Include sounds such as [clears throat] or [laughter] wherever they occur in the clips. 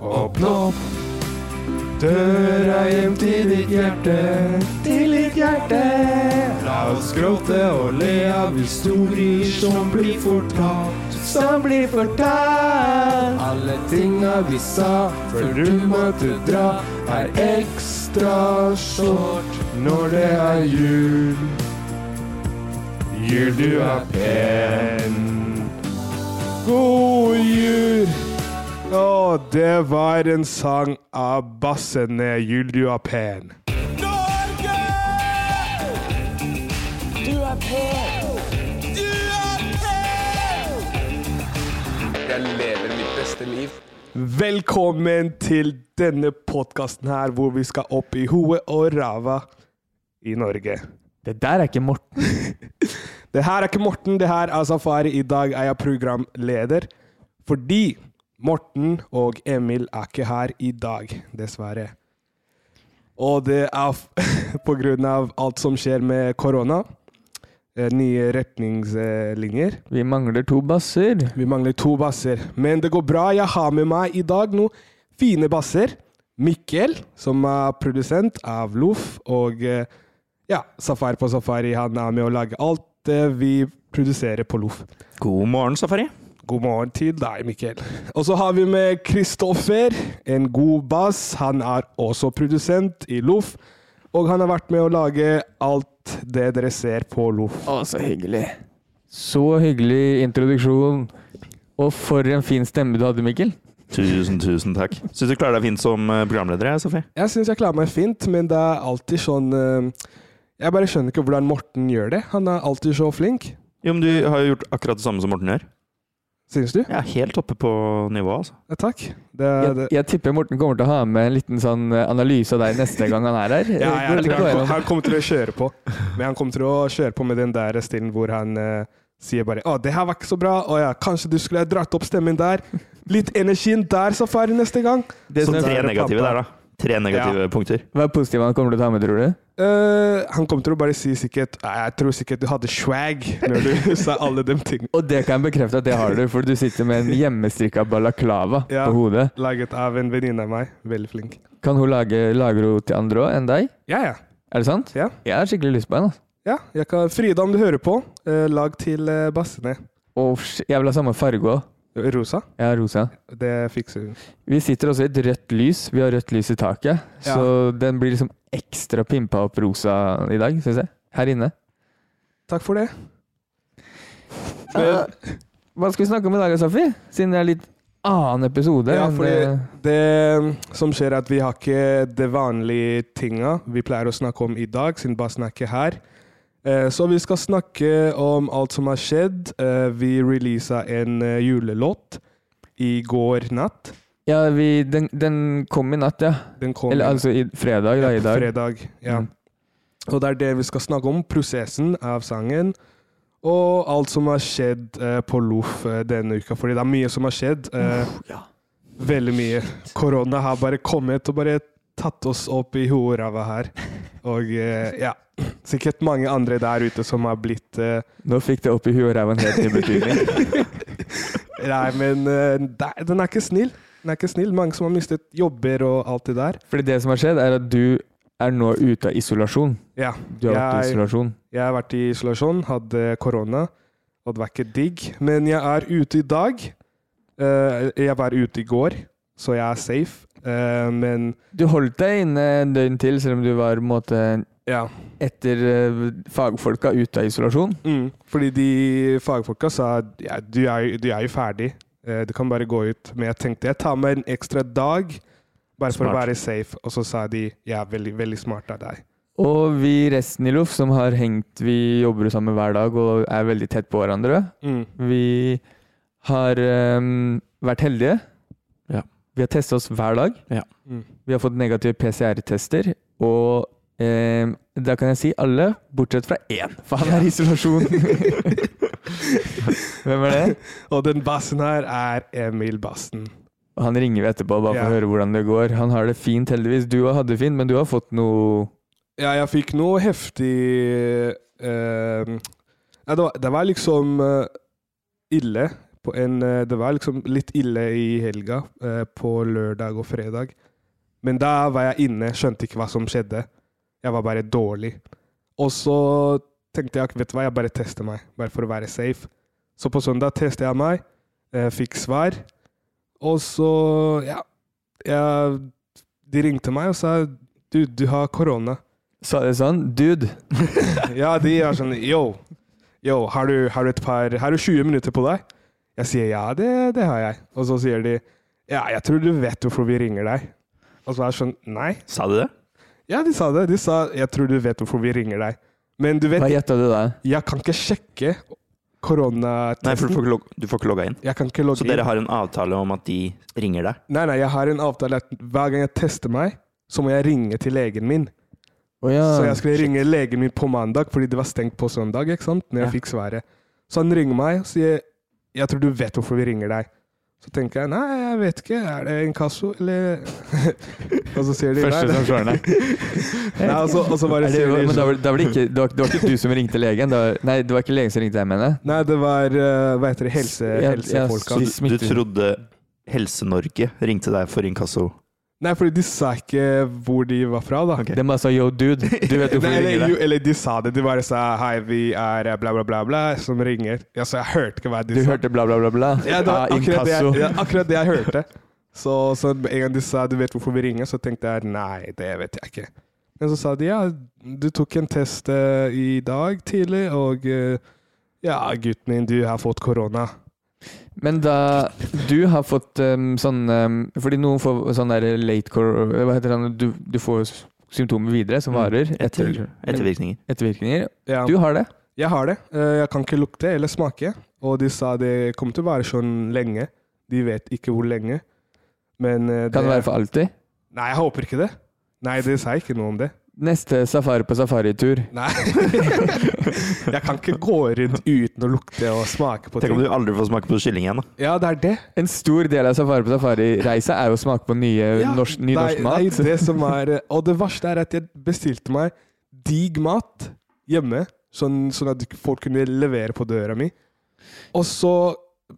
Åpne opp døra hjem til ditt hjerte, til ditt hjerte. La oss gråte og le av historier som blir fortalt, som blir fortalt. Alle tinga vi sa før du måtte dra, er ekstra short når det er jul. Jul, du er pen. God jul! Og det var en sang av Bassene, 'Jul du er pen'. Velkommen til denne podkasten her hvor vi skal opp i hoet og ræva i Norge. Det der er ikke Morten. Det her er ikke Morten, det her er Safari. I dag er jeg programleder. Fordi Morten og Emil er ikke her i dag, dessverre. Og det er f [laughs] på grunn av alt som skjer med korona. eh, Nye retningslinjer. Vi mangler to basser. Vi mangler to basser. Men det går bra. Jeg har med meg i dag noen fine basser. Mikkel, som er produsent av Loff, og eh, ja, Safari på Safari. Han er med å lage alt det vi produserer på Loff. God morgen, Safari. God morgen til deg, Mikkel. Og så har vi med Kristoffer, en god bass. Han er også produsent i Loff, og han har vært med å lage alt det dere ser på Loff. Å, så hyggelig. Så hyggelig introduksjon. Og for en fin stemme du hadde, Mikkel. Tusen, tusen takk. Syns du klarer deg fint som eh, programleder, jeg, Sofie? Jeg syns jeg klarer meg fint, men det er alltid sånn eh, Jeg bare skjønner ikke hvordan Morten gjør det. Han er alltid så flink, Jo, men du har jo gjort akkurat det samme som Morten gjør. syns du? Jeg er helt oppe på nivået, altså. Ja, takk. Det, Jeg, det. jeg tipper Morten kommer til å ha med en liten sånn eh, analyse av deg neste gang han er her. [laughs] Ja, Går jeg tror det ikke å han, gjøre? han kommer til å kjøre på. Men han kommer til å kjøre på med den der stilen hvor han eh, sier bare Å, det her var ikke så bra. Å ja, kanskje du skulle ha dratt opp stemmen der. Litt energien der, Safari, neste gang. Det Så som tre negative der, da. Tre negative punkter. Hva er positivt han kommer til å ta med, tror du? Eh, han kommer til å bare si sikkert «Nei, Jeg tror sikkert du hadde swag når du [laughs] sa alle de tingene. Og det kan jeg bekrefte at det har du, for du sitter med en hjemmestrikka balaklava Ja. på hodet. Laget av en venninne av meg. Veldig flink. Kan hun lage lager hun til andre òg enn deg? Ja, ja. Er det sant? Ja. Jeg har skikkelig lyst på en. Altså. ja jeg kan, Frida, om du hører på, eh, lag til uh, bassene. Å, sh- jeg vil ha samme farge òg. Rosa. Jeg har rosa. Det fikser hun. Vi sitter også i et rødt lys. Vi har rødt lys i taket. Ja. Så den blir liksom ekstra pimpa opp rosa i dag, syns jeg. Her inne. Takk for det. Hva skal vi snakke om i dag, Safi? Siden det er litt annen episode. Ja, enn, fordi eh, det eh, som skjer er at vi har ikke det vanlige tinga vi pleier å snakke om i dag, siden bassen er ikke her. Eh, Så vi skal snakke om alt som har skjedd. Eh, Vi releasa en eh, julelåt i går natt. ja vi, den, den kom i natt, ja. Den kom Eller altså i fredag, da, i dag. fredag. Ja. Mm. Og det er det vi skal snakke om. Prosessen av sangen. og alt som har skjedd eh, på Loff eh, denne uka, fordi det er mye som har skjedd. Eh, Veldig mye. Korona har bare kommet og bare tatt oss opp i hoeræva her. Og eh, ja, sikkert mange andre der ute som har blitt eh, Nå fikk det opp i huet og ræva en helt ny betydning. [laughs] Nei, men eh, det- den er ikke snill. Den er ikke snill. Mange som har mistet jobber og alt det der. Fordi det som har skjedd, er at du er nå ute av isolasjon. Ja, Du har vært i jeg, isolasjon. jeg har vært i isolasjon, hadde korona, og det var ikke digg. Men jeg er ute i dag. Eh, jeg var ute i går, så jeg er safe. Eh, men Du holdt deg inne en døgn til, selv om du var på en måte ja. etter eh, fagfolka ute av isolasjon. Mm. Fordi de fagfolka sa ja, du, er, jo- du er jo ferdig, Eh, du kan bare gå ut. Men jeg tenkte jeg tar meg en ekstra dag, bare for å Smart. være safe. Og så sa de ja, veldig, veldig smart av deg. Og vi resten i Loff som har hengt Vi jobber jo sammen hver dag og er veldig tett på hverandre. Mm. Vi har ehm, vært heldige. Ja. Vi har testa oss hver dag. Mm. Vi har fått negative PCR-tester. Og ehm, da kan jeg si alle, bortsett fra én, for han er [laughs] i isolasjon. Hvem er det? Og den bassen her er Emil Bassen. Og Han ringer vi etterpå bare for Ja. å høre hvordan det går. Han har det fint, heldigvis. Du har hatt det fint, men du har fått noe Ja, jeg fikk noe heftig eh, ja, det, var, det var liksom eh, ille. På en, eh, det var liksom litt ille i helga, eh, på lørdag og fredag. Men da var jeg inne, skjønte ikke hva som skjedde. Jeg var bare dårlig. Og så tenkte jeg vet du hva, jeg bare tester meg, bare for å være safe. Så på søndag testet jeg meg, eh, fikk svar. Og så, ja jeg, De ringte meg og sa du, du har korona. Sa det sånn? Dude, Ja, de er sånn Yo, yo har, du, har, du et par, har du 20 minutter på deg? Jeg sier ja, det, det har jeg. Og så sier de ja, jeg tror du vet hvorfor vi ringer deg. Og så er jeg sånn nei. Sa de det? Ja, de sa det. De sa jeg tror du vet hvorfor vi ringer deg. Men du [laughs] vet, hva gjetta du da? jeg kan ikke sjekke Nei, for du koronatesten. får ikke log- du får ikke logga inn. Jeg kan ikke Så logge dere inn. har en avtale om at de ringer deg? Nei, nei, jeg har en avtale at hver gang jeg tester meg, så må jeg ringe til legen min. Å ja. Så jeg skulle ringe legen min på mandag, fordi det var stengt på søndag. ikke sant? Når jeg Ja. fikk svaret. Så han ringer meg og sier jeg tror du vet hvorfor vi ringer deg. Så tenker jeg nei, jeg vet ikke. Er det inkasso, eller [laughs] Og så sier de nei. Første det- som slår ned. nei og, så, og så bare Er det, sier de men da sånn, var, da var det, ikke, det, var, det var ikke du som ringte legen? Det var, nei, det var ikke legen som ringte deg, mener jeg. Nei, det var eh, hva heter det, [laughs] helse, Ja, ja, helsefolka. så- Du trodde Helse-Norge ringte deg for inkasso? Nei, fordi de sa ikke hvor de var fra, da. Ok. Den bare sa yo, dude, du vet [laughs] hvorfor Nei, vi eller, ringer jo, deg. eller de sa det. De bare sa hei, vi er bla, bla, bla, bla, som ringer. Ja, så jeg hørte ikke hva de Du sa. hørte bla, bla, bla, bla? Ja, det var Ah, akkurat det inkasso. jeg, ja, akkurat det jeg hørte. Så, så med en gang de sa 'du vet hvorfor vi ringer', så tenkte jeg nei, det vet jeg ikke. Men så sa de ja, du tok en test eh, i dag tidlig, og eh, ja, gutten min, du har fått korona. Men da du har fått um, sånn um, Fordi noen får sånn der late cor... Hva heter det? Du, du får symptomer videre som Mm. varer. Etter, Etter, ettervirkninger. ettervirkninger. Ja, Du har det. jeg har det. Eh, Jeg kan ikke lukte eller smake. Og de sa det kommer til å være sånn lenge. De vet ikke hvor lenge. Men eh, Kan det være for alltid? Nei, jeg håper ikke det. Nei, det sa ikke noe om det. Neste safari på safaritur. Nei. [laughs] jeg kan ikke gå rundt uten å lukte og smake på Tenk om ting. du aldri får smake på kylling igjen, da. Ja, det er det. En stor del av safari på safari-reisa er jo å smake på nye, Ja, Eh, norsk, ny det er- norsk mat. Det er det som er eh, Og det verste er at jeg bestilte meg digg mat hjemme, sånn, sånn at folk kunne levere på døra mi. Og så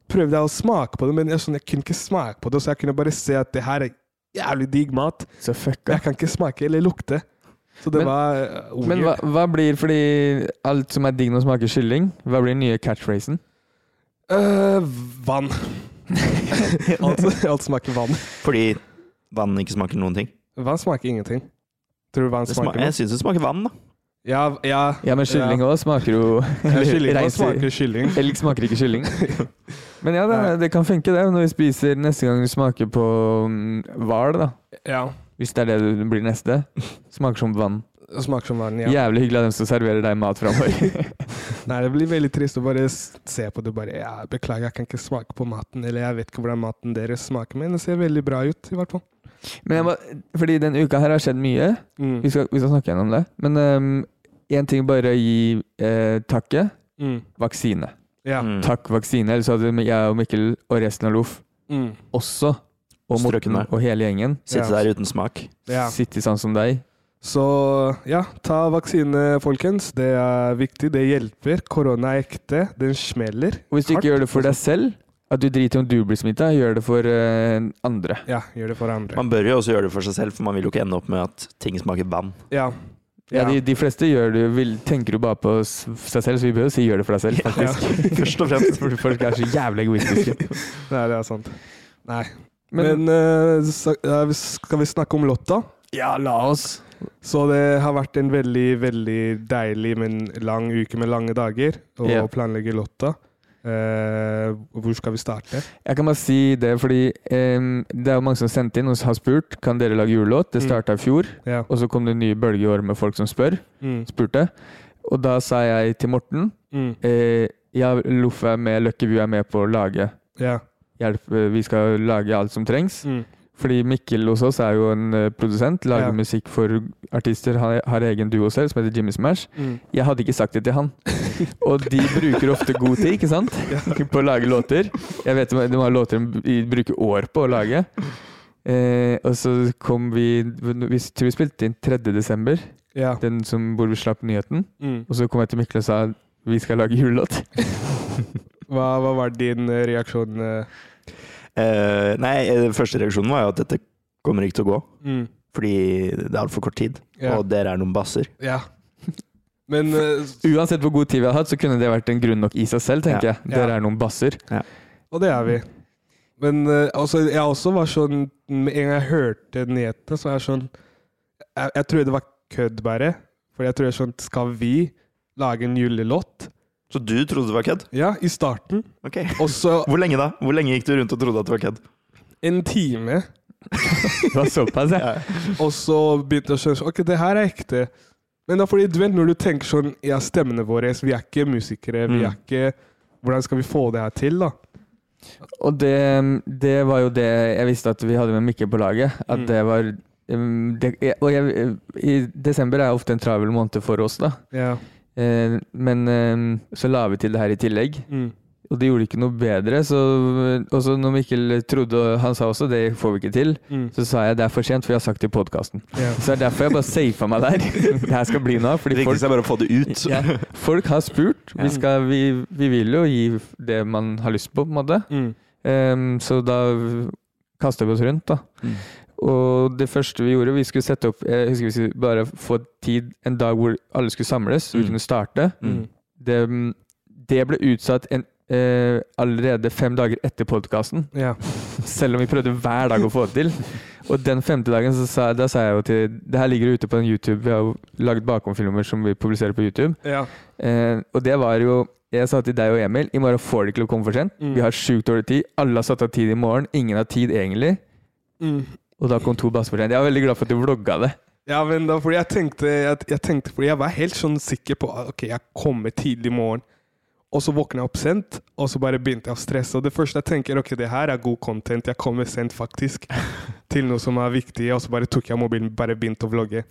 prøvde jeg å smake på det, men jeg, sånn, jeg kunne ikke smake på det, så jeg kunne bare se at det her er jævlig digg mat. Så fucka. Jeg kan ikke smake eller lukte. Så det Men- var eh, weird. Men hva, hva blir, fordi alt som er digg når det smaker kylling, hva blir den nye catchphrasen? Eh, vann. [laughs] alt, alt smaker vann. Fordi vann ikke smaker noen ting. Vann smaker ingenting. Tror du vann Det smaker smaker, noe? jeg syns det smaker vann, da. Ja, ja. [laughs] Ja, men kylling òg smaker jo Ja, kylling Hva reiser- smaker kylling. Elg smaker ikke kylling. [laughs] Men ja, det, det kan funke, det. Når vi spiser neste gang vi smaker på mm, hval, da. Ja. Hvis det er det det blir neste. Smaker som vann. Det smaker som vann, ja. Jævlig hyggelig av dem som serverer deg mat [laughs] framover. Nei, det blir veldig trist å bare s- se på det og bare ja, 'Beklager, jeg kan ikke smake på maten.' Eller 'Jeg vet ikke hvordan maten deres smaker, men det ser veldig bra ut', i hvert fall. Men jeg må, fordi denne uka her har skjedd mye. Vi Mm. ehm, skal, vi skal snakke gjennom det. Men én ting bare å gi eh, takket Mm. Vaksine. Ja. Mm. Takk, vaksine. Ellers hadde jeg og Mikkel og resten av Loff Mm. også, og Morten Strøkene. og hele gjengen, Sitte Ja. der uten smak. ja. sittet sånn som deg. Så ja, ta vaksine, folkens. Det er viktig. Det hjelper. Korona er ekte. Den smeller. Og hvis du Hardt, ikke gjør det for deg selv, at du driter i om du blir smitta, gjør det for eh, andre. Ja, gjør det for andre. Man bør jo også gjøre det for seg selv, for man vil jo ikke ende opp med at ting smaker vann. Ja. Ja, de, de fleste gjør det, vil, tenker jo bare på s- seg selv, så vi bør jo si 'gjør det for deg selv', faktisk. Først og fremst. For folk er så jævlig egoistiske. [laughs] Nei, det er sant. Nei. Men, Men, eh, sa- ja, vi- skal vi snakke om Lotta? ja, la oss Så det har vært en veldig, veldig deilig, men lang uke med lange dager å Ja. planlegge Lotta. Eh, hvor skal vi starte? Jeg kan bare si det, fordi em, det er jo mange som har sendt inn og har spurt kan dere lage julelåt. Det Mm. starta i fjor, Ja. og så kom det en ny bølge i år med folk som spør. Mm. spurte. Og da sa jeg til Morten Mm. eh, ja, Loff er med, Løkkeby er med på å lage Ja. hjelp, eh, vi skal lage alt som trengs. Mm. Fordi Mikkel hos oss er jo en eh, produsent, lager Ja. musikk for artister. Han har egen duo selv som heter Jimmy Smash. Mm. Jeg hadde ikke sagt det [laughs] til han. Og de bruker ofte god tid ikke sant? [laughs] på å lage låter. Jeg vet De har låter de bruker år på å lage. Eh, og så kom vi Vi tror vi spilte inn 3. desember, Ja. den som, hvor vi slapp nyheten. Mm. Og så kom jeg til Mikkel og sa vi skal lage julelåt. [laughs] Hva, hva var din eh, reaksjon? eh? Eh, nei, eh, første reaksjonen var jo at dette kommer ikke til å gå, Mm. fordi det er altfor kort tid, Ja. og dere er noen basser. ja. Men eh, s- Uansett hvor god tid vi hadde hatt, så kunne det vært en grunn nok i seg selv, tenker Ja. jeg. Dere Ja. er noen basser. Og det er vi. Men eh, altså, jeg også var sånn Med en gang jeg hørte nyhetene, så er jeg sånn Jeg, jeg trodde det var kødd, bare. For jeg tror sånn Skal vi lage en julelåt? Så du trodde det var kødd? Ja, i starten. Ok. [laughs] Og så Hvor lenge da? Hvor lenge gikk du rundt og trodde at det var kødd? en time. Det var såpass, jeg. Og så begynte jeg å skjønne sånn, Ok, det her er ekte. Men da fordi du vet når du tenker sånn Ja, stemmene våre Vi er ikke musikere. Vi Mm. er ikke Hvordan skal vi få det her til, da? [laughs] Og det, det var jo det jeg visste at vi hadde med Mikkel på laget. At Mm. det var um, det, Og jeg, i desember er ofte en travel måned for oss, da. Ja. Eh, Men eh, så la vi til det her i tillegg, Mm. og det gjorde ikke noe bedre. Så også når Mikkel trodde, og han sa også det får vi ikke til, Mm. så sa jeg det er for sent, for jeg har sagt det i podkasten. Ja. Så det er derfor jeg bare safa meg der. [laughs] Det her skal bli noe av. Det Fordi folk, viktigste er bare å få det ut. [laughs] ja, folk har spurt. Vi, skal, vi, vi vil jo gi det man har lyst på, på en måte. Mm. Ehm, så da kasta vi oss rundt, da. Mm. Og det første vi gjorde, vi skulle sette opp Jeg husker vi skulle bare få tid en dag hvor alle skulle samles, så vi Mm. kunne starte. Mm. Det, det ble utsatt en, eh, allerede fem dager etter podkasten. Ja. [laughs] Selv om vi prøvde hver dag å få det til. Og den femte dagen så sa, da sa jeg jo til Det her ligger jo ute på en YouTube. Vi har jo lagd bakomfilmer som vi publiserer på YouTube. ja. Eh, og det var jo Jeg sa til deg og Emil i morgen får det ikke til å komme for sent. Mm. Vi har sjukt dårlig tid. Alle har satt av tid i morgen. Ingen har tid egentlig. Mm. Og da kom to basser for sent. Jeg er veldig glad for at du vlogga det. Ja, men da, fordi jeg tenkte, jeg, jeg tenkte Fordi jeg var helt sånn sikker på at, Ok, jeg kommer tidlig i morgen Og så våkna jeg opp sent Og så bare begynte jeg å stresse Og det første jeg tenker, ok, det her er god content Jeg kommer sent faktisk Til noe som er viktig Og så bare tok jeg mobilen Bare begynte å vlogge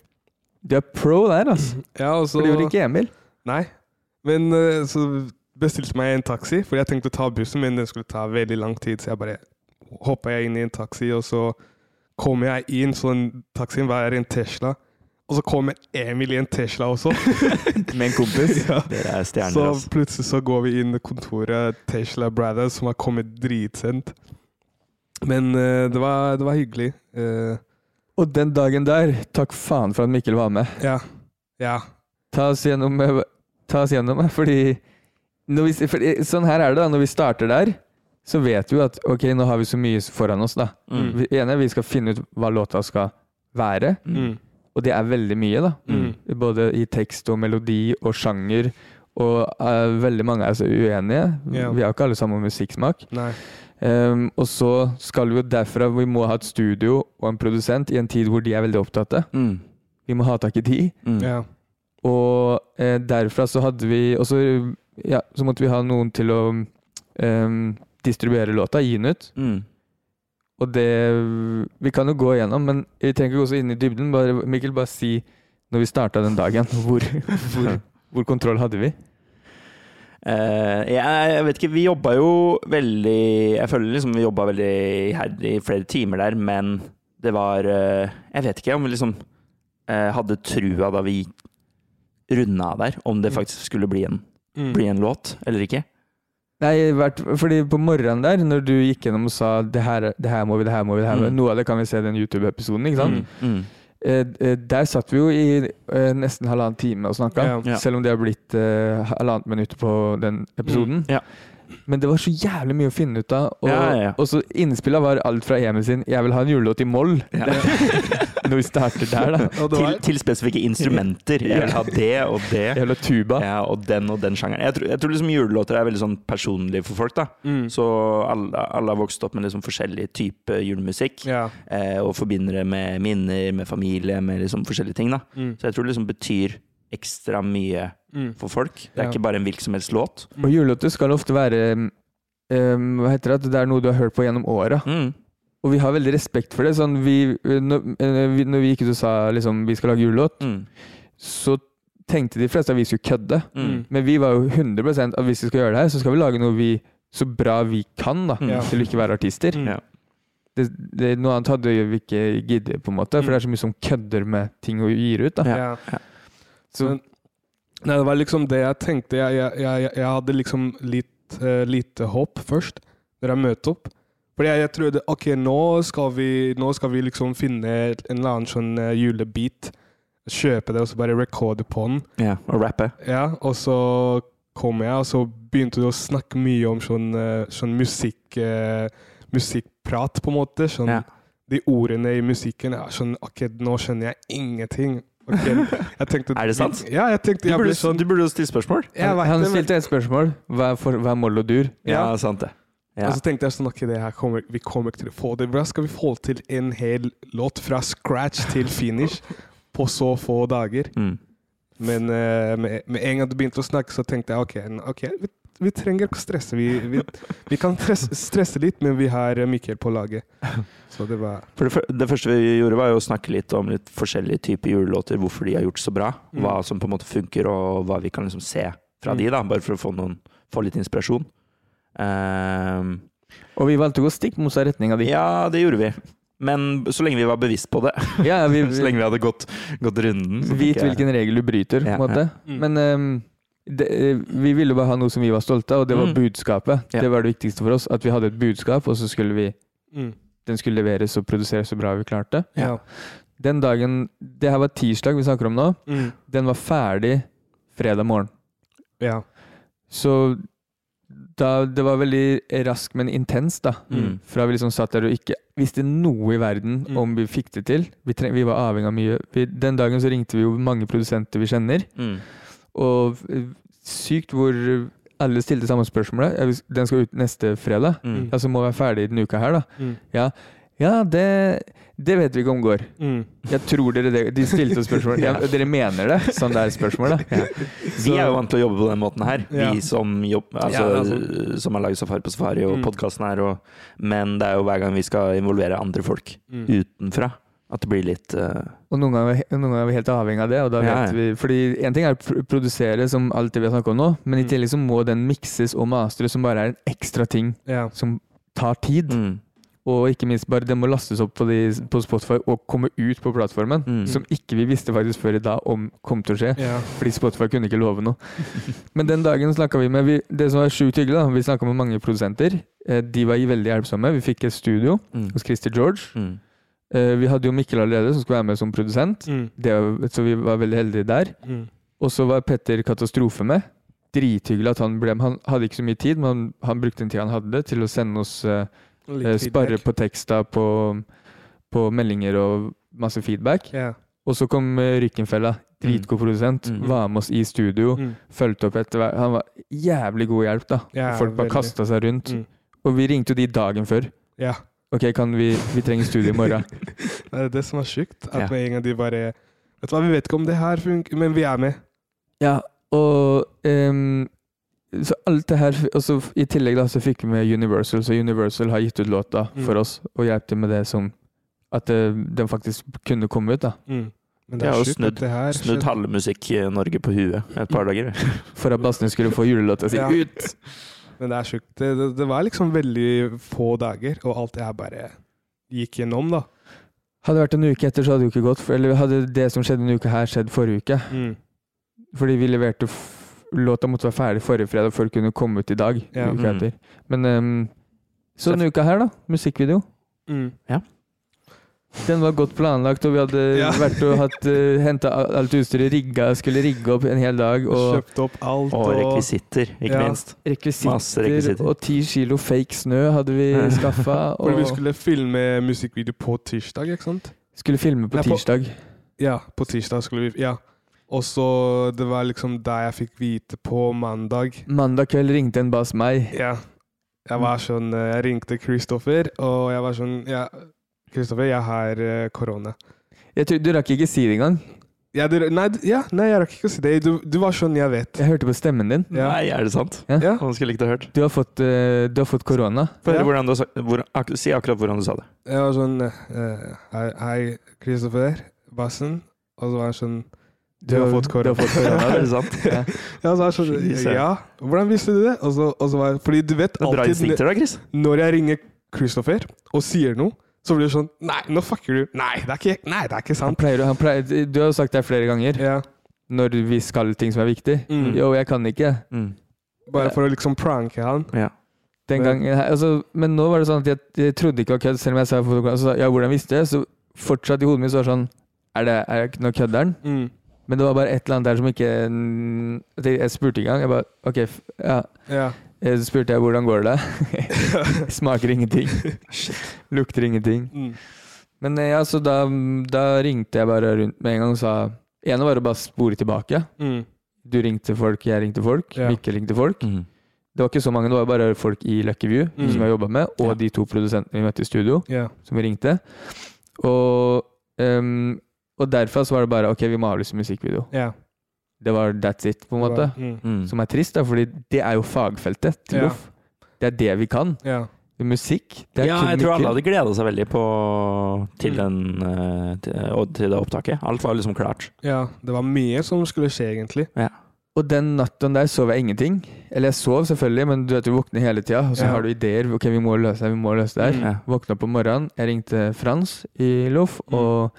Du er pro der, altså. Ja, og Mm, så For det gjorde ikke Emil. Nei Men eh, så bestilte meg en taksi Fordi jeg tenkte å ta bussen Men den skulle ta veldig lang tid Så jeg bare hoppet jeg inn i en taksi Og så kom jeg inn Sånn taksien var en Tesla Og så kommer Emil i en Tesla også Med en kompis. Ja. [laughs] Dere er Så stjerner, altså. plutselig så går vi inn i kontoret Tesla Brothers, som har kommet dritsent. Men eh, det, var, det var hyggelig. Eh, Og den dagen der, takk faen for at Mikkel var med. ja. Ja. Ta oss gjennom eh, Ta oss gjennom, eh, fordi, når vi, fordi Sånn her er det, da. Når vi starter der, så vet vi jo at ok, nå har vi så mye foran oss, da. Mm. Vi, ene, vi skal finne ut hva låta skal være, Mm. og det er veldig mye, da. Mm. Både i tekst og melodi og sjanger, og eh, veldig mange er så uenige. Ja. Vi har ikke alle samme musikksmak. Nei. Ehm, og så skal vi jo derfra Vi må ha et studio og en produsent i en tid hvor de er veldig opptatte. Mm. Vi må ha tak i de. Mm. Ja. Og eh, derfra så hadde vi Og så, ja, så måtte vi ha noen til å em, distribuere låta, gi den ut. Mm. Og det Vi kan jo gå igjennom, men vi trenger ikke gå så inn i dybden. Bare, Mikkel, bare si når vi starta den dagen, hvor, hvor, hvor kontroll hadde vi? Eh, jeg, jeg vet ikke, vi jobba jo veldig Jeg føler liksom vi jobba veldig iherdig i flere timer der, men det var eh, Jeg vet ikke om vi liksom eh, hadde trua da vi runda av der, om Mm. det faktisk skulle bli en, bli en låt eller ikke. Nei, hvert, fordi på morgenen der, når du gikk gjennom og sa det her, det her må vi, det her må vi, det her må vi Mm. Noe av det kan vi se i den YouTube-episoden, ikke sant? Mm. Eh, eh, der satt vi jo i eh, nesten halvannen time og snakka, Ja. Ja. selv om det har blitt eh, halvannet minutt på den episoden. Mm. Ja. Men det var så jævlig mye å finne ut av. Og, Ja, ja, ja. og så innspillet var alt fra Emil sin 'Jeg vil ha en julelåt i moll'. Ja. [laughs] Når vi starter [laughs] der, da. Og det Til, var, til spesifikke instrumenter. Jeg vil ha det og det. Jeg vil ha tuba. Ja, og den og den sjangeren. Jeg tror, jeg tror liksom julelåter er veldig sånn personlige for folk. da Mm. Så alle, alle har vokst opp med liksom forskjellig type julemusikk. ja. eh, og forbinder det med minner, med familie, med liksom forskjellige ting. da. Mm. Så jeg tror det liksom betyr ekstra mye Mm. for folk. Det er Ja. ikke bare en hvilken som helst låt. Og julelåter skal ofte være eh, Hva heter det? at Det er noe du har hørt på gjennom åra. Mm. Og vi har veldig respekt for det. Sånn, vi, når, eh, vi- når vi gikk ut og sa liksom, vi skal lage julelåt, Mm. så tenkte de fleste at vi skulle kødde. Mm. Men vi var jo 100 at hvis vi skal gjøre det her, så skal vi lage noe vi så bra vi kan, da, Ja. til å ikke være artister. Mm. Ja. Det, det, noe annet hadde vi ikke giddet, på en måte, for det er så mye som kødder med ting og gir ut. da. Ja. Ja. Så- Men, nei, det var liksom det jeg tenkte. Jeg, jeg, jeg, jeg hadde liksom litt eh, lite håp først, når jeg møtte opp. Fordi jeg, jeg trodde ok, nå skal, vi, nå skal vi liksom finne en eller annen sånn eh, julebit, kjøpe det og så bare recorde på den. ja. Og rappe. Ja, og så kom jeg, og så begynte du å snakke mye om sånn, eh, sånn musikk, eh, musikkprat, på en måte. Sånn, Ja. De ordene i musikken er sånn Ok, nå skjønner jeg ingenting. Ok, jeg [laughs] tenkte, Er det sant? Ja, jeg tenkte Du jeg burde, ble sånn du burde jo stille spørsmål. jeg vet Han det, men- stilte et spørsmål. Hva er, for, hva er moll og dur? Ja, Altså, sant det. Ja. Og så tenkte jeg sånn Ok, det her kommer, vi kommer ikke til å få det. Hvordan skal vi få til en hel låt fra scratch til finish på så få dager? Mm. Men eh, med, med en gang du begynte å snakke, så tenkte jeg ok, n- ok, vi, vi trenger ikke å stresse. Vi, vi, vi kan stresse, stresse litt, men vi har eh, Mikkel på laget. Så det var For det, fyr- det første vi gjorde, var jo å snakke litt om litt forskjellige typer julelåter. Hvorfor de har gjort så bra. Mm. Hva som på en måte funker, og hva vi kan liksom se fra Mm. de. da Bare for å få, noen, få litt inspirasjon. Ehm, Og vi valgte å gå stikk motsatt retning av de. ja, det gjorde vi. Men så lenge vi var bevisst på det. Ja, [laughs] vi, Så lenge vi hadde gått, gått runden. så Vit fikk Mm. jeg- hvilken regel du bryter, på Ja, en måte. ja. Mm. Men ehm, det, eh, vi ville bare ha noe som vi var stolte av, og det var Mm. budskapet. Ja. Det var det viktigste for oss. At vi hadde et budskap, og så skulle vi mm, den skulle leveres og produseres så bra vi klarte. Ja. Den dagen Det her var tirsdag vi snakker om nå. Mm, Den var ferdig fredag morgen. ja. Så da, det var veldig rask, men intens, da. Mm. Fra vi liksom satt der og ikke visste noe i verden Mm. om vi fikk det til. Vi, treng, vi var avhengig av mye. Vi, den dagen så ringte vi jo mange produsenter vi kjenner. Mm. Og eh, sykt hvor eh, alle stilte samme spørsmålet. Jeg vis- Den skal ut neste fredag. Mm. Altså må være ferdig denne uka her, da. Mm, Ja, ja det, det vet vi ikke om går. mm, Jeg tror dere det. De stilte oss [laughs] spørsmål. ja. Ja. Dere mener det? Sånn det er spørsmålet? [laughs] Vi er jo vant til å jobbe på den måten her, Ja. vi som, jobb, altså, Ja, altså. som har laget Safari på Safari og Mm. podkasten her. Og, men det er jo hver gang vi skal involvere andre folk mm, utenfra, at det blir litt eh, Og noen ganger, noen ganger er vi helt avhengig av det. Og da vet Ja, ja. vi, fordi en ting er å pr- produsere, som alt det vi har snakket om nå, men i Mm. tillegg så må den mikses og mastres, som bare er en ekstra ting ja. som tar tid. mm, Og ikke minst bare den må lastes opp på, de, på Spotify og komme ut på plattformen. mm. Som ikke vi visste faktisk før i dag om kom til å skje. ja. Fordi Spotify kunne ikke love noe. Men den dagen snakka vi med vi, Det som var sjukt hyggelig, da, vi snakka med mange produsenter. Eh, De var veldig hjelpsomme. Vi fikk et studio Mm. hos Christer George. Mm. Eh, Vi hadde jo Mikkel allerede, som skulle være med som produsent. Mm, Det, var- så vi var veldig heldige der. mm, Og så var Petter Katastrofe med. Drithyggelig at han ble med. Han hadde ikke så mye tid, men han, han brukte den tida han hadde til å sende oss eh, litt eh, sparre feedback. på teksta, på, på meldinger og masse feedback. Ja. Og så kom eh, Rykkenfella. Dritgod produsent. Mm. Var med oss i studio Mm, fulgte opp etter hver Han var jævlig god hjelp, da. Ja, Folk bare veldig. kasta seg rundt. Mm. Og vi ringte jo de dagen før. ja. Ok, kan vi, vi trenger studio i morgen. Det er det som er sjukt. At Ja. med en gang de bare Vet du hva, vi vet ikke om det her funker, men vi er med. ja, og ehm, Så alt det her Og så f- i tillegg da, så fikk vi med Universal, så Universal har gitt ut låta Mm. for oss og hjalp til med det som At eh, den faktisk kunne komme ut, da. Mm. Men Jeg det har jo er slutt. snudd- det her [laughs] Snudd halve Musikk-Norge på huet et par dager. [laughs] For at Bassene skulle få julelåta si Ja. ut. [laughs] Men det er sjukt. Det, det, det var liksom veldig få dager, og alt det her bare gikk gjennom, da. Hadde det vært en uke etter, så hadde det jo ikke gått. For, eller hadde det som skjedde en uke her, skjedd forrige uke? Mm. Fordi vi leverte f Låta måtte være ferdig forrige fredag for å kunne komme ut i dag. Ja. Uka Mm. etter. Men ehm, så denne uka her, da. Musikkvideo. Mm. Den var godt planlagt, og vi hadde Ja. [laughs] vært og hatt uh, henta alt utstyret rigga, skulle rigge opp en hel dag, og Kjøpte opp alt Og rekvisitter, ikke Ja. minst. masse rekvisitter rekvisitter. og ti kilo fake snø hadde [laughs] vi skaffa, For og vi skulle filme musikkvideo på tirsdag, ikke sant? skulle filme på Nei, på- tirsdag. Ja, på tirsdag skulle vi Ja. Og så det var liksom der jeg fikk vite på mandag. Mandag kveld ringte en bass meg. Ja. Jeg var sånn eh, Jeg ringte Kristoffer, og jeg var sånn ja, Kristoffer, jeg har eh, korona. Jeg tror, du rakk ikke si det engang. Ja, du, nei, du- ja, nei, jeg rakk ikke å si det. Du, du var sånn, jeg vet. Jeg hørte på stemmen din. Ja. Nei, er det sant? Ja. Han skulle likt å hørt. Du har fått, eh, du har fått korona. Få Ja. høre hvordan du har sagt hvor, ak Si akkurat hvordan du sa det. Jeg var sånn eh, Hei, hei Kristoffer. Bassen. Og så var jeg sånn Du har fått Du korona. har fått korona. Er det [laughs] sant? Ja. [laughs] Ja, så er jeg Jesus. sånn, ja, hvordan visste du det? Og så, og så var jeg, fordi du vet Det er bra alltid instinkter da, Chris. Når jeg ringer Christopher og sier noe, så blir det sånn Nei, nå fucker du. Nei, det er ikke, nei, det er ikke Han sant. pleier, å- han pleier, du har jo sagt det flere ganger Ja, når vi skal ting som er viktig. Mm. Jo, jeg kan ikke. Mm. bare for å liksom pranke han. Ja. Den gangen, her- altså, men nå var det sånn at jeg, jeg trodde ikke det var kødd, selv om jeg sa fotogram, så sa jeg, ja, hvordan visste jeg? Så fortsatt i hodet mitt så var det sånn Er det er jeg, Nå kødder han? Mm. Men det var bare et eller annet der som ikke at Jeg jeg spurte ikke engang. Jeg bare OK, f ja. Ja. Eh, Så spurte jeg hvordan går det. [laughs] Smaker ingenting. Lukter ingenting. Mm. Men eh, ja, så da, da ringte jeg bare rundt med en gang og sa En var å bare spore tilbake. Mm. Du ringte folk, jeg ringte folk, Ja. Mikkel ringte folk. Mm. Det var ikke så mange, det var bare folk i Lucky View Mm. som jeg jobba med, og Ja. de to produsentene vi møtte i studio, ja. som vi ringte. Og, ehm, og derfra så var det bare OK, vi må avlyse musikkvideo. Ja. Det var that's it, på en måte. Mm. Mm. Som er trist, da, fordi det er jo fagfeltet til Ja. Loff. Det er det vi kan. Ja. Musikk. Det er Ja, kun jeg tror Mikkel. alle hadde gleda seg veldig på, til, Mm. den, eh, til, og til det opptaket. Alt var liksom klart. ja. Det var mye som skulle skje, egentlig. Og den natten der sov jeg ingenting. Eller jeg sov selvfølgelig, men du vet du våkner hele tida, og så Ja. har du ideer. Ok, vi må løse det, vi må løse det her. Mm. Ja. Våkna opp om morgenen, jeg ringte Frans i Loff, Mm. og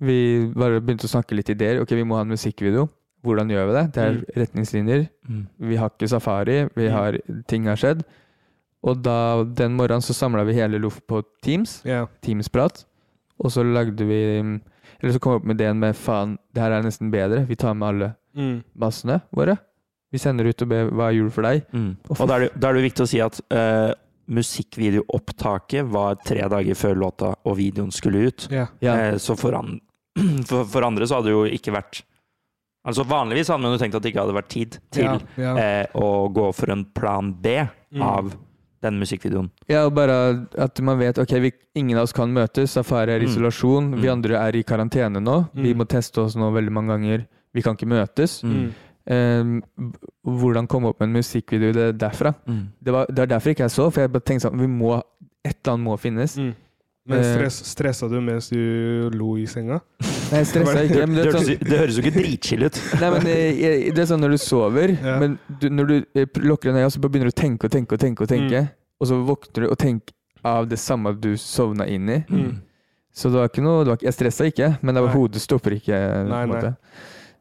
vi bare begynte å snakke litt ideer. Ok, vi må ha en musikkvideo. Hvordan gjør vi det? Det er Mm. retningslinjer. Mm. Vi har ikke safari. Vi Mm. har, ting har skjedd. Og da, den morgenen så samla vi hele Loff på Teams. Ja. Teams-prat. Og så lagde vi Eller så kom vi opp med ideen med faen, det her er nesten bedre. Vi tar med alle Mm. bassene våre. Vi sender ut og ber hva er jul for deg. Mm. Og da er, det, da er det jo viktig å si at eh, musikkvideoopptaket var tre dager før låta og videoen skulle ut. Ja. Ja. Eh, så for, an [clears throat] for, for andre så hadde det jo ikke vært Altså Vanligvis hadde man jo tenkt at det ikke hadde vært tid til Ja. Ja. eh, å gå for en plan B Mm. av den musikkvideoen. ja, og bare at man vet ok, vi, ingen av oss kan møtes. Safari er i Mm. isolasjon. Vi Mm. andre er i karantene nå. Vi Mm. må teste oss nå veldig mange ganger. Vi kan ikke møtes. Mm. Ehm, h- hvordan komme opp med en musikkvideo i det derfra? Mm. Det, var, det er derfor ikke jeg så, for jeg bare tenkte sånn vi må, Et eller annet må finnes. Mm. Men Eh. stress, stressa du mens du lo i senga? Nei, jeg stressa ikke. Men Det, det, er høres, sånn, jo- det høres jo ikke dritchill ut. Nei, men eh, jeg- Det er sånn når du sover, Ja. men du, når du eh, pr- lukker øynene, så bare begynner du å tenke og tenke og tenke, og tenke Og så våkner du og tenker av det samme du sovna inn i. Mm. Så det var ikke noe det var, ikke- Jeg stressa ikke, men det var Nei. hodet stopper ikke. eh, på en Nei, nei. måte.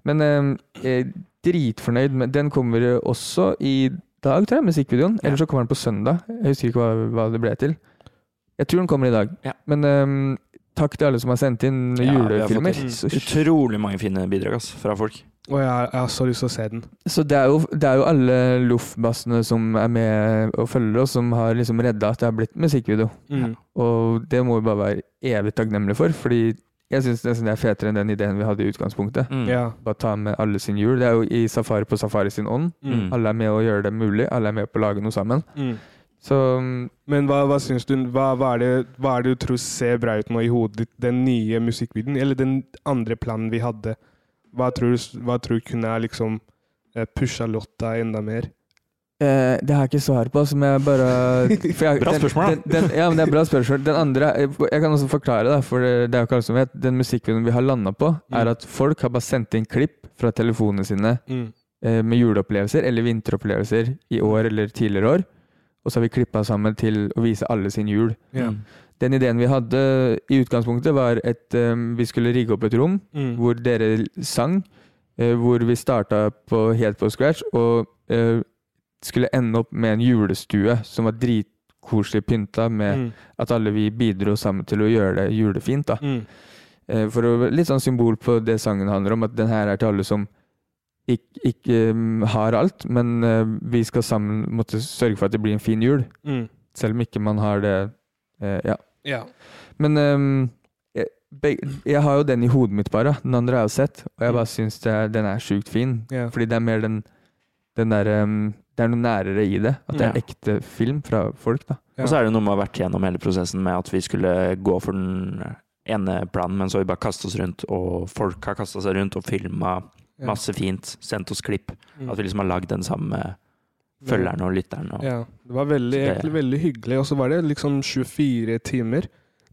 Men eh, jeg er dritfornøyd med Den kommer også i dag, tror jeg, musikkvideoen. Eller så kommer den på søndag. Jeg husker ikke hva, hva det ble til. Jeg tror den kommer i dag. Ja. Men eh, takk til alle som har sendt inn Ja, vi har fått julefilmer. helt Så Utrolig mange fine bidrag ass, fra folk. Og jeg, jeg har så lyst til å se den. Så det er jo, det er jo alle loffbassene som er med og følger oss, som har liksom redda at det har blitt musikkvideo. Mm. Og det må vi bare være evig takknemlige for, fordi jeg syns nesten det er fetere enn den ideen vi hadde i utgangspunktet. Mm. Ja. Bare ta med alle sin jul. Det er jo i Safari på Safari sin ånd. Mm. Mm. Alle er med å gjøre det mulig. Alle er med på å lage noe sammen. Mm. Så mm, Men hva, hva syns du hva, hva, er det, hva er det du tror ser bra ut nå i hodet ditt? Den nye musikkvideoen, eller den andre planen vi hadde? Hva tror du, hva tror du kunne ha liksom eh, pusha Lotta enda mer? Eh, det har jeg ikke svar på, som jeg bare [laughs] for jeg, Bra spørsmål, da. den, den, den, Ja, men det er bra spørsmål. Den andre eh, Jeg kan også forklare, da, for det er jo ikke alle som vet. Den musikkvideoen vi har landa på, er at folk har bare sendt inn klipp fra telefonene sine Mm. eh, med juleopplevelser eller vinteropplevelser i år eller tidligere år. Og så har vi klippa sammen til å vise alle sin jul. Ja. Den ideen vi hadde i utgangspunktet, var at eh, vi skulle rigge opp et rom Mm. hvor dere sang, eh, hvor vi starta på, helt på scratch, og eh, skulle ende opp med en julestue som var dritkoselig pynta, med Mm. at alle vi bidro sammen til å gjøre det julefint. da. Mm. Eh, for å, Litt sånn symbol på det sangen handler om, at den her er til alle som ikke, ikke eh, har alt, men eh, vi skal sammen måtte sørge for at det blir en fin jul, Mm. selv om ikke man har det eh, Ja. Ja. Men ehm, jeg, beg- jeg har jo den i hodet mitt bare. Den andre har jeg jo sett, og jeg bare syns det, er- den er sjukt fin. Ja. Fordi det er mer den, den der ehm, Det er noe nærere i det. At det er Ja. ekte film fra folk, da. Ja. Og så er det noe med å ha vært gjennom hele prosessen med at vi skulle gå for den ene planen, men så har vi bare kastet oss rundt, og folk har kastet seg rundt og filma Ja. masse fint, sendt oss klipp. Mm. At vi liksom har lagd den samme følgeren og lytteren. Og, Ja. Det var veldig, Så det- egentlig veldig hyggelig. Og så var det liksom 24 timer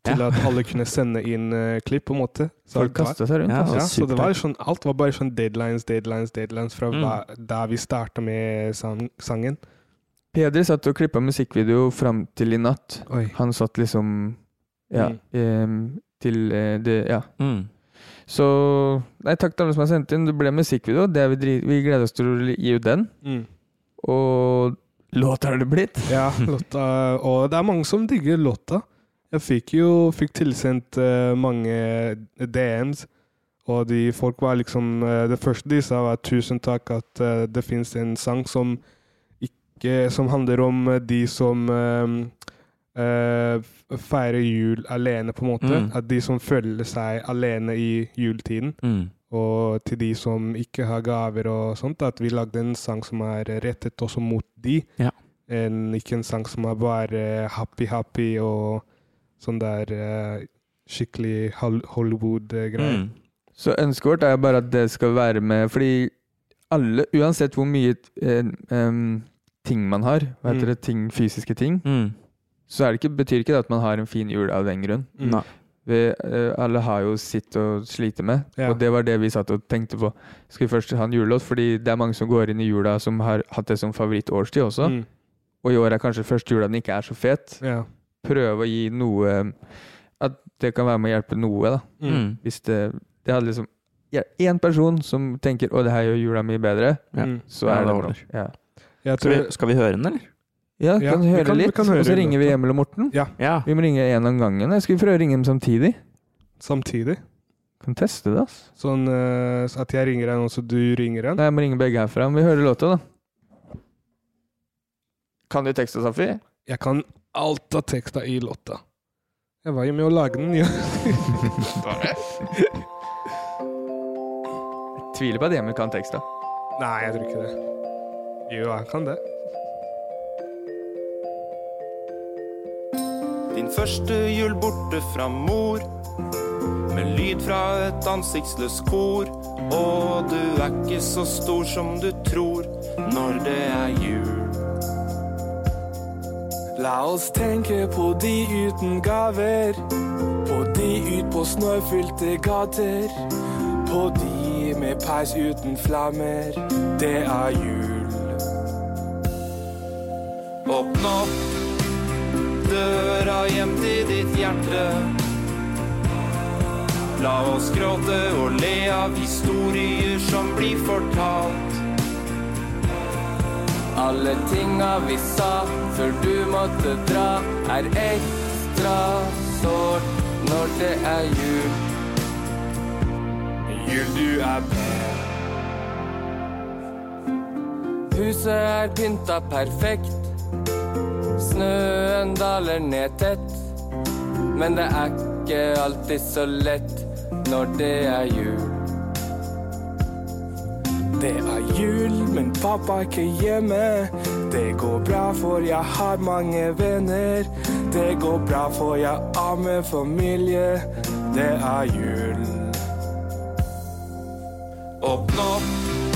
til Ja. at alle kunne sende inn eh, klipp, på en måte. Så Folk det var- kasta seg rundt. Ja, altså. Ja, så det var sånn, Supert. alt var bare sånn deadlines, deadlines, deadlines fra Mm. hva, da vi starta med sang, sangen. Peder satt og klippa musikkvideo fram til i natt. Oi. Han satt liksom Ja. Mm. ehm, til eh, det Ja. Mm. Så Nei, takk til alle som har sendt inn. Det ble musikkvideo. Det er vi, dri- vi gleder oss til å gi ut den. Mm. Og låt har det blitt. [laughs] Ja, låta Og det er mange som digger låta. Jeg fikk jo fikk tilsendt eh, mange DMs, og de folk var liksom eh, Det første de sa, var tusen takk at eh, det fins en sang som ikke Som handler om eh, de som eh, eh, f- feirer jul alene, på en måte. Mm. At de som føler seg alene i juletiden. Mm. Og til de som ikke har gaver og sånt, at vi lagde en sang som er rettet også mot de. Ja. En, ikke en sang som er bare happy-happy og sånn der eh, skikkelig hol- Hollywood-greier. Mm. Så ønsket vårt er jo bare at det skal være med Fordi alle, uansett hvor mye eh, em, ting man har, hva Mm. heter det, ting, fysiske ting, Mm. så er det ikke, betyr ikke det at man har en fin jul av den grunn. Mm. Nei. Vi, eh, alle har jo sitt å slite med, Ja. og det var det vi satt og tenkte på. Skal vi først ha en julelåt? Fordi det er mange som går inn i jula som har hatt det som favorittårstid også. Mm. Og i år er kanskje første jula den ikke er så fet. Ja. Prøve å gi noe At det kan være med å hjelpe noe, da. Mm. Hvis det, det hadde liksom ja, En person som tenker 'Å, det her gjør jula mi bedre', Ja. Mm. så Ja, er det det ordner. bra. Ja, Jeg Skal, tror vi, skal vi høre den, eller? ja Ja, kan vi høre kan- vi litt, kan høre og så en ringer vi låt, da. Emil og Morten. Ja. Vi må ringe én om gangen. Jeg Skal vi prøve å ringe dem samtidig? samtidig. Kan teste det, ass. Sånn eh, så at jeg ringer en, og så du ringer en. Nei, jeg må ringe begge herfra. Men vi hører låta, da. Kan du teksta, Safi? Jeg kan alt av teksta i låta. Jeg var jo [laughs] med å lage den. Ja. Tviler på at Emil kan teksta. Nei, jeg tror ikke det. Jo, jeg kan det. Din første jul borte fra mor Med lyd fra et ansiktsløst kor Og du er ikke så stor som du tror Når det er jul La oss tenke på de uten gaver På de ut på snøfylte gater På de med peis uten flammer Det er jul Åpne opp døra hjem til ditt hjerte. La oss gråte og le av historier som blir fortalt. Alle tinga vi sa før du måtte dra, er ekstra sårt når det er jul. Jul, du er med. Huset er pynta perfekt. Snøen daler ned tett, men det er ikke alltid så lett når det er jul. Det er jul, men pappa er ikke hjemme. Det går bra, for jeg har mange venner. Det går bra, for jeg ammer familie. Det er jul. Åpne opp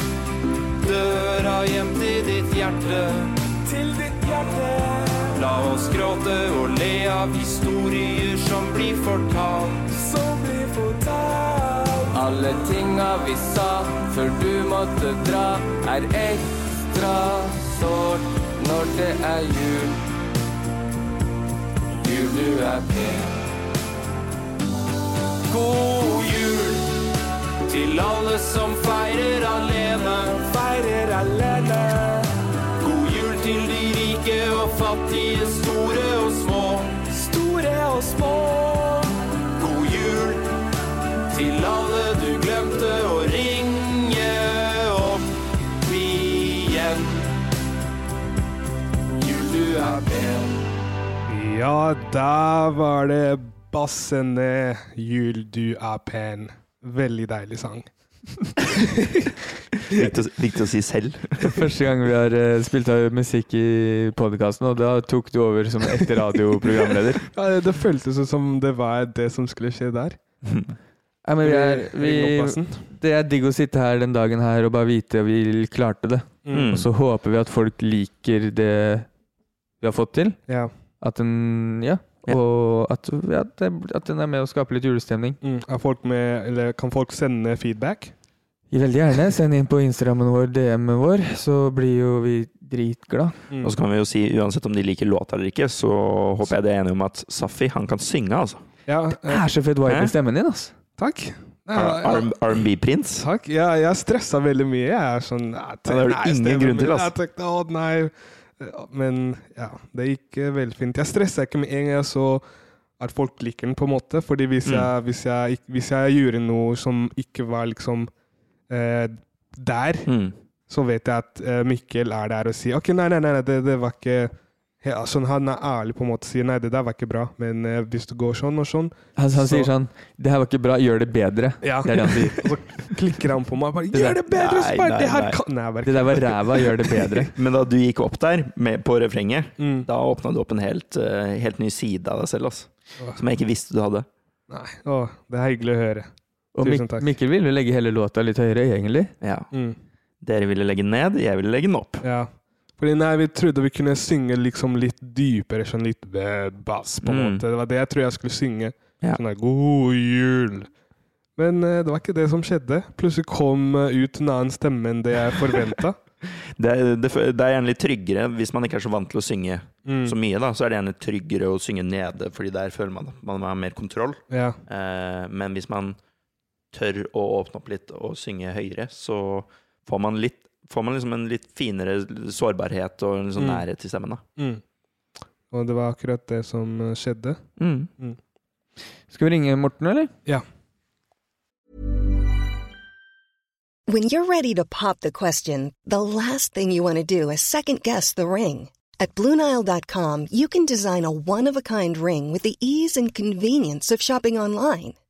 døra hjem til ditt hjerte. til ditt hjerte. La oss gråte og le av historier som blir fortalt. Som blir fortalt. Alle tinga vi sa før du måtte dra, er ekstra sårt når det er jul. Jul, du er pen. God jul til alle som feirer alene. Feirer alene. God jul til de rike og fattige, store og små. Store og små. God jul til alle du glemte å ringe opp igjen. Jul, du er pen. Ja, der var det bassende 'Jul, du er pen'. Veldig deilig sang. Viktig, å- viktig å si [laughs] selv. Første gang vi har eh, spilt av musikk i podkasten, og da tok du over som ekte radioprogramleder. [laughs] Ja, det- det føltes jo som det var det som skulle skje der. Eh, Nei, men vi er, I vi, oppvassen. det er digg å sitte her den dagen her og bare vite at vi klarte det. Mm. Og så håper vi at folk liker det vi har fått til. Ja. At den, ja, Ja. Og at, ja, det, at den er med å skape litt julestemning. Mm. Er folk med, eller kan folk sende feedback? Veldig gjerne. Send inn på Instagrammen vår, DM-en vår, så blir jo vi dritglad. Mm. Og så kan vi jo si, uansett om de liker låta eller ikke, så håper jeg de er enige om at Safi, han kan synge, altså. Ja, Det eh, er så fett vibe Hæ? i stemmen din, altså. takk. Nei, ja, ja, R&B-prins. takk. Ja, jeg stressa veldig mye. Jeg er sånn nei, Ja, det har du nei, ingen stemmen grunn til, min, ass. Jeg tenkte, å, nei. Ja, Men ja, det gikk eh, velfint. Jeg stressa ikke med en gang jeg så at folk liker den, på en måte. Fordi hvis, Mm. jeg, hvis, jeg, ikk- hvis jeg gjorde noe som ikke var liksom eh, der, Mm. så vet jeg at eh, Mikkel er der og sier ok, nei, nei, nei, nei, det, det var ikke ja, sånn, Han er ærlig på en måte og sier nei, det der var ikke bra, men eh, hvis du går sånn og sånn Han, han Så- sier sånn Det her var ikke bra, gjør det bedre. ja. [laughs] Det er det han sier. Og så klikker han på meg og bare Det der- gjør det bedre! Nei, Spar! nei, det her nei. kan Nei, bare Det der var ræva, gjør det [laughs] bedre. Men da du gikk opp der med, på refrenget, mm. da åpna du opp en helt, eh, helt ny side av deg selv, altså. Åh. Som jeg ikke visste du hadde. Nei. Å, det er hyggelig å høre. Og Tusen Mik takk. Mikkel vil jo legge hele låta litt høyere, egentlig. Ja. Mm. Dere ville legge den ned, jeg ville legge den opp. Ja. Fordi nei, vi trodde vi kunne synge liksom litt dypere, sånn litt eh, bass, på en Mm. måte. Det var det jeg tror jeg skulle synge. Ja. Sånn der, God jul! Men eh, det var ikke det som skjedde. Plutselig kom eh, ut en annen stemme enn det [laughs] jeg forventa. Det, er- det, fø- det er gjerne litt tryggere hvis man ikke er så vant til å synge Mm. så mye, da. Så er det gjerne tryggere å synge nede, fordi der føler man at man har mer kontroll. Ja. Eh, men hvis man tør å åpne opp litt og synge høyere, så får man, litt, får man liksom en litt finere sårbarhet og en sånn Mm. nærhet til stemmen. Da. Mm. Og det var akkurat det som eh, skjedde. Skal vi ringe Morten, eller? When you're ready to pop the question, the last thing you want to do is second guess the ring. At Bluenile.com, you can design a one of a kind ring with the ease and convenience of shopping online.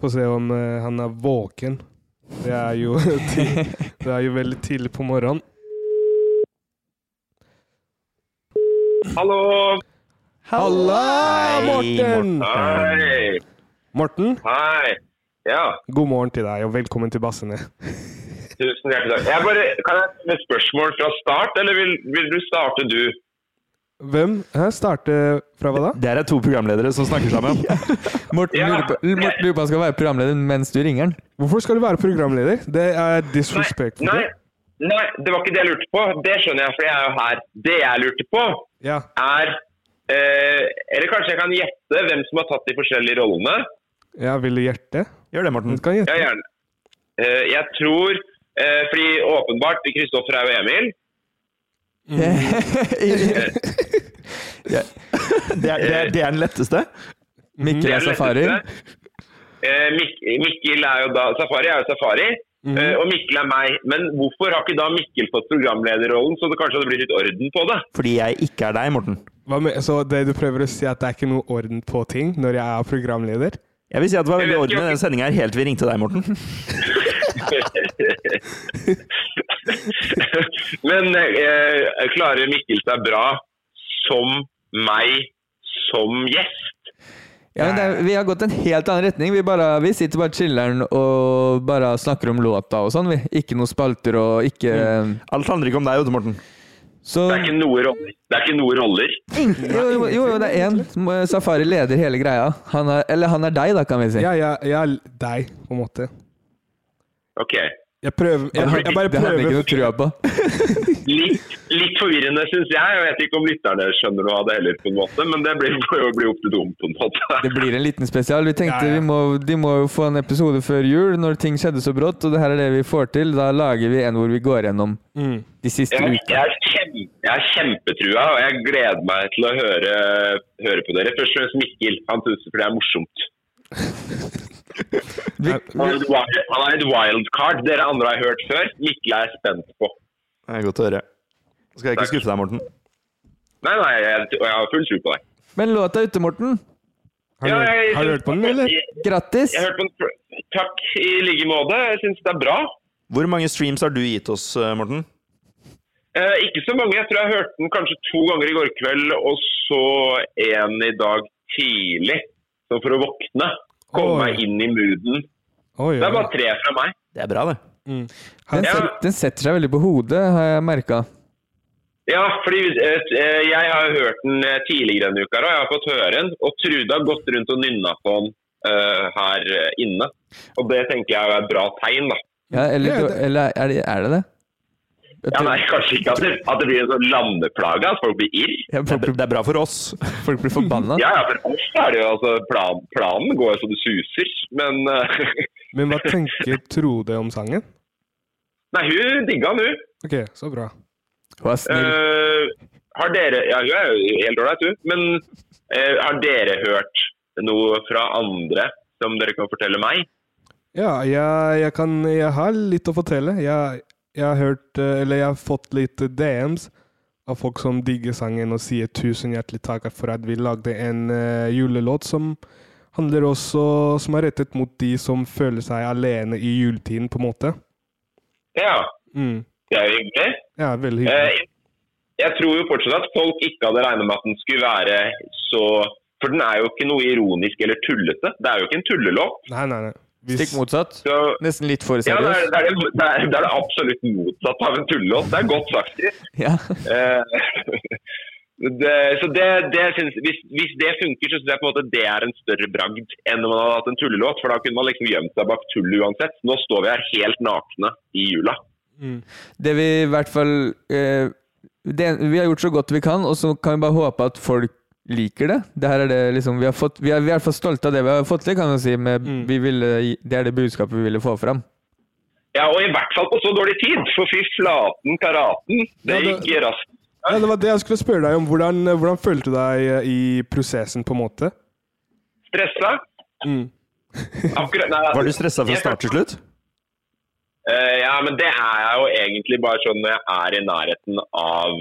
Få se om eh, han er våken. Det er jo, [laughs] ti- det er jo veldig tidlig på morgenen. Hallo! Halla, Hei, Morten! Hei! Morten, Hei! Ja, god morgen til deg, og velkommen til Bassene. tusen hjertelig takk. Jeg bare, kan jeg stille et spørsmål fra start, eller vil, vil du starte du? Hvem? Hæ, starte fra hva da? Der er to programledere som snakker [laughs] sammen. Morten lurer på Morten lurer på om han skal være programleder mens du ringer han. Hvorfor skal du være programleder? Det er disrespekt. Nei, nei, det var ikke det jeg lurte på. Det skjønner jeg, for jeg er jo her. Det jeg lurte på, Ja. er eh, Eller kanskje jeg kan gjette hvem som har tatt de forskjellige rollene? Jeg vil hjerte. Gjør det, Morten. Kan Ja, gjette. gjerne. Eh, jeg tror eh, Fordi åpenbart Kristoffer er jo [laughs] Emil. Eh. Ja. Det, er, det, er, det er den letteste. Mikkel er Det er safari. det Eh, Mik Mikkel er jo da Safari er jo Safari. Mhm. eh, og Mikkel er meg. Men hvorfor har ikke da Mikkel fått programlederrollen, så det kanskje hadde blitt litt orden på det? Fordi jeg ikke er deg, Morten. Hva med, så det du prøver å si, er at det er ikke noe orden på ting når jeg er programleder? Jeg vil si at det var veldig orden i denne sendinga helt til vi ringte deg, Morten. Men eh, klarer Mikkel seg bra som meg som gjest? Ja, men det er, vi har gått en helt annen retning. Vi, bare, vi sitter bare chiller'n og bare snakker om låta og sånn. vi. Ikke noen spalter og ikke Alt handler ikke om deg, vet du, Morten. Så Mm. Det er ikke noe roller. Det er ikke noe roller. jo, jo, jo, jo, det er én. Safari leder hele greia. Han er, eller han er deg, da, kan vi si. Ja, jeg, jeg er deg, på en måte. Ok. Jeg prøver Jeg, jeg bare Det hadde jeg prøver. ikke noe trua på. Litt, litt forvirrende, syns jeg. Jeg vet ikke om lytterne skjønner noe av det heller, på en måte, men det blir, [laughs] blir opp til dem, på en måte. Det blir en liten spesial. Vi tenkte Ja, ja. Vi må, de må jo få en episode før jul, når ting skjedde så brått, og det her er det vi får til. Da lager vi en hvor vi går gjennom Mm. de siste Jeg, ukene. jeg, er kjempe, jeg er kjempetrua, og jeg gleder meg til å høre, høre på dere. Først og fremst Mikkel. Han syns det er morsomt. Han er et wild- han er et wildcard. Dere andre har hørt før. Mikkel er jeg spent på. Det er godt å høre. Nå skal jeg ikke skuffe deg, Morten. Nei, nei, jeg, og jeg har full tro på deg. Men låta er ute, Morten. Har du, Ja, jeg- har du hørt på den, eller? Jeg, Grattis. jeg har hørt på den. før. Takk i like måte. Jeg syns det er bra. Hvor mange streams har du gitt oss, eh, Morten? Eh, ikke så mange. Jeg tror jeg hørte den kanskje to ganger i går kveld, og så en i dag tidlig. Så for å våkne. Komme Oi. meg inn i mooden. Oi, Det er oi. bare tre fra meg. Det er bra, det. Den, set, den setter seg veldig på hodet, har jeg merka. Ja, fordi eh, eh, jeg har hørt den eh, tidligere denne uka, og jeg har fått høre den. Og Trude har gått rundt og nynna på den eh, her eh, inne. Og det tenker jeg er et bra tegn, da. Ja, Ja, eller, det- eller er, det, er det det? Jeg Ja, tror- nei, Kanskje ikke at det, at det blir en sånn landeplage, at folk blir irr. Ja, Det er, folk, br- det er bra for oss. [laughs] folk blir [laughs] forbanna. Ja, ja, for oss er det jo altså plan, Planen går jo så det suser, men eh, [laughs] Men hva tenker Trude om sangen? Nei, hun digga den, hun. Ok, så bra. Vær snill. Eh, har dere Ja, hun er jo helt ålreit, hun. Men eh, har dere hørt noe fra andre som dere kan fortelle meg? Ja, jeg, jeg kan Jeg har litt å fortelle. Jeg, jeg har hørt eh, Eller jeg har fått litt DMs av folk som digger sangen og sier tusen hjertelig takk for at vi lagde en eh, julelåt som handler også Som er rettet mot de som føler seg alene i juletiden, på en måte. Ja, Mm. det er jo hyggelig. Ja, veldig hyggelig. Eh, Jeg tror jo fortsatt at folk ikke hadde regnet med at den skulle være så For den er jo ikke noe ironisk eller tullete. Det er jo ikke en tullelåt. Nei, nei, nei. Vi, Stikk motsatt. Så Nesten litt for ja, det er seriøs. det, er det, det, er, det er det absolutt motsatte av en tullelåt. Det er godt sagt. Ja. Eh, [laughs] det, så det, det syns- hvis, hvis det funker, så syns jeg på en måte det er en større bragd enn om man hadde hatt en tullelåt. For da kunne man liksom gjemt seg bak tullet uansett. Nå står vi her helt nakne i jula. Det vi i hvert fall eh, det, Vi har gjort så godt vi kan, og så kan vi bare håpe at folk liker det. det, her er det liksom, vi, har fått, vi er vi er i hvert fall stolte av det vi har fått til, kan vi si. Med, vi ville, gi- det er det budskapet vi ville få fram. Ja, og i hvert fall på så dårlig tid! For fy flaten karaten, det Ja, det- gikk raskt. ja, det var det jeg skulle spørre deg om. Hvordan, eh, hvordan følte du deg eh, i prosessen, på en måte? Stressa? Mm. Akkurat, nei, Var du stressa fra jeg- start til slutt? Eh, ja, men det er jeg jo egentlig bare sånn når jeg er i nærheten av,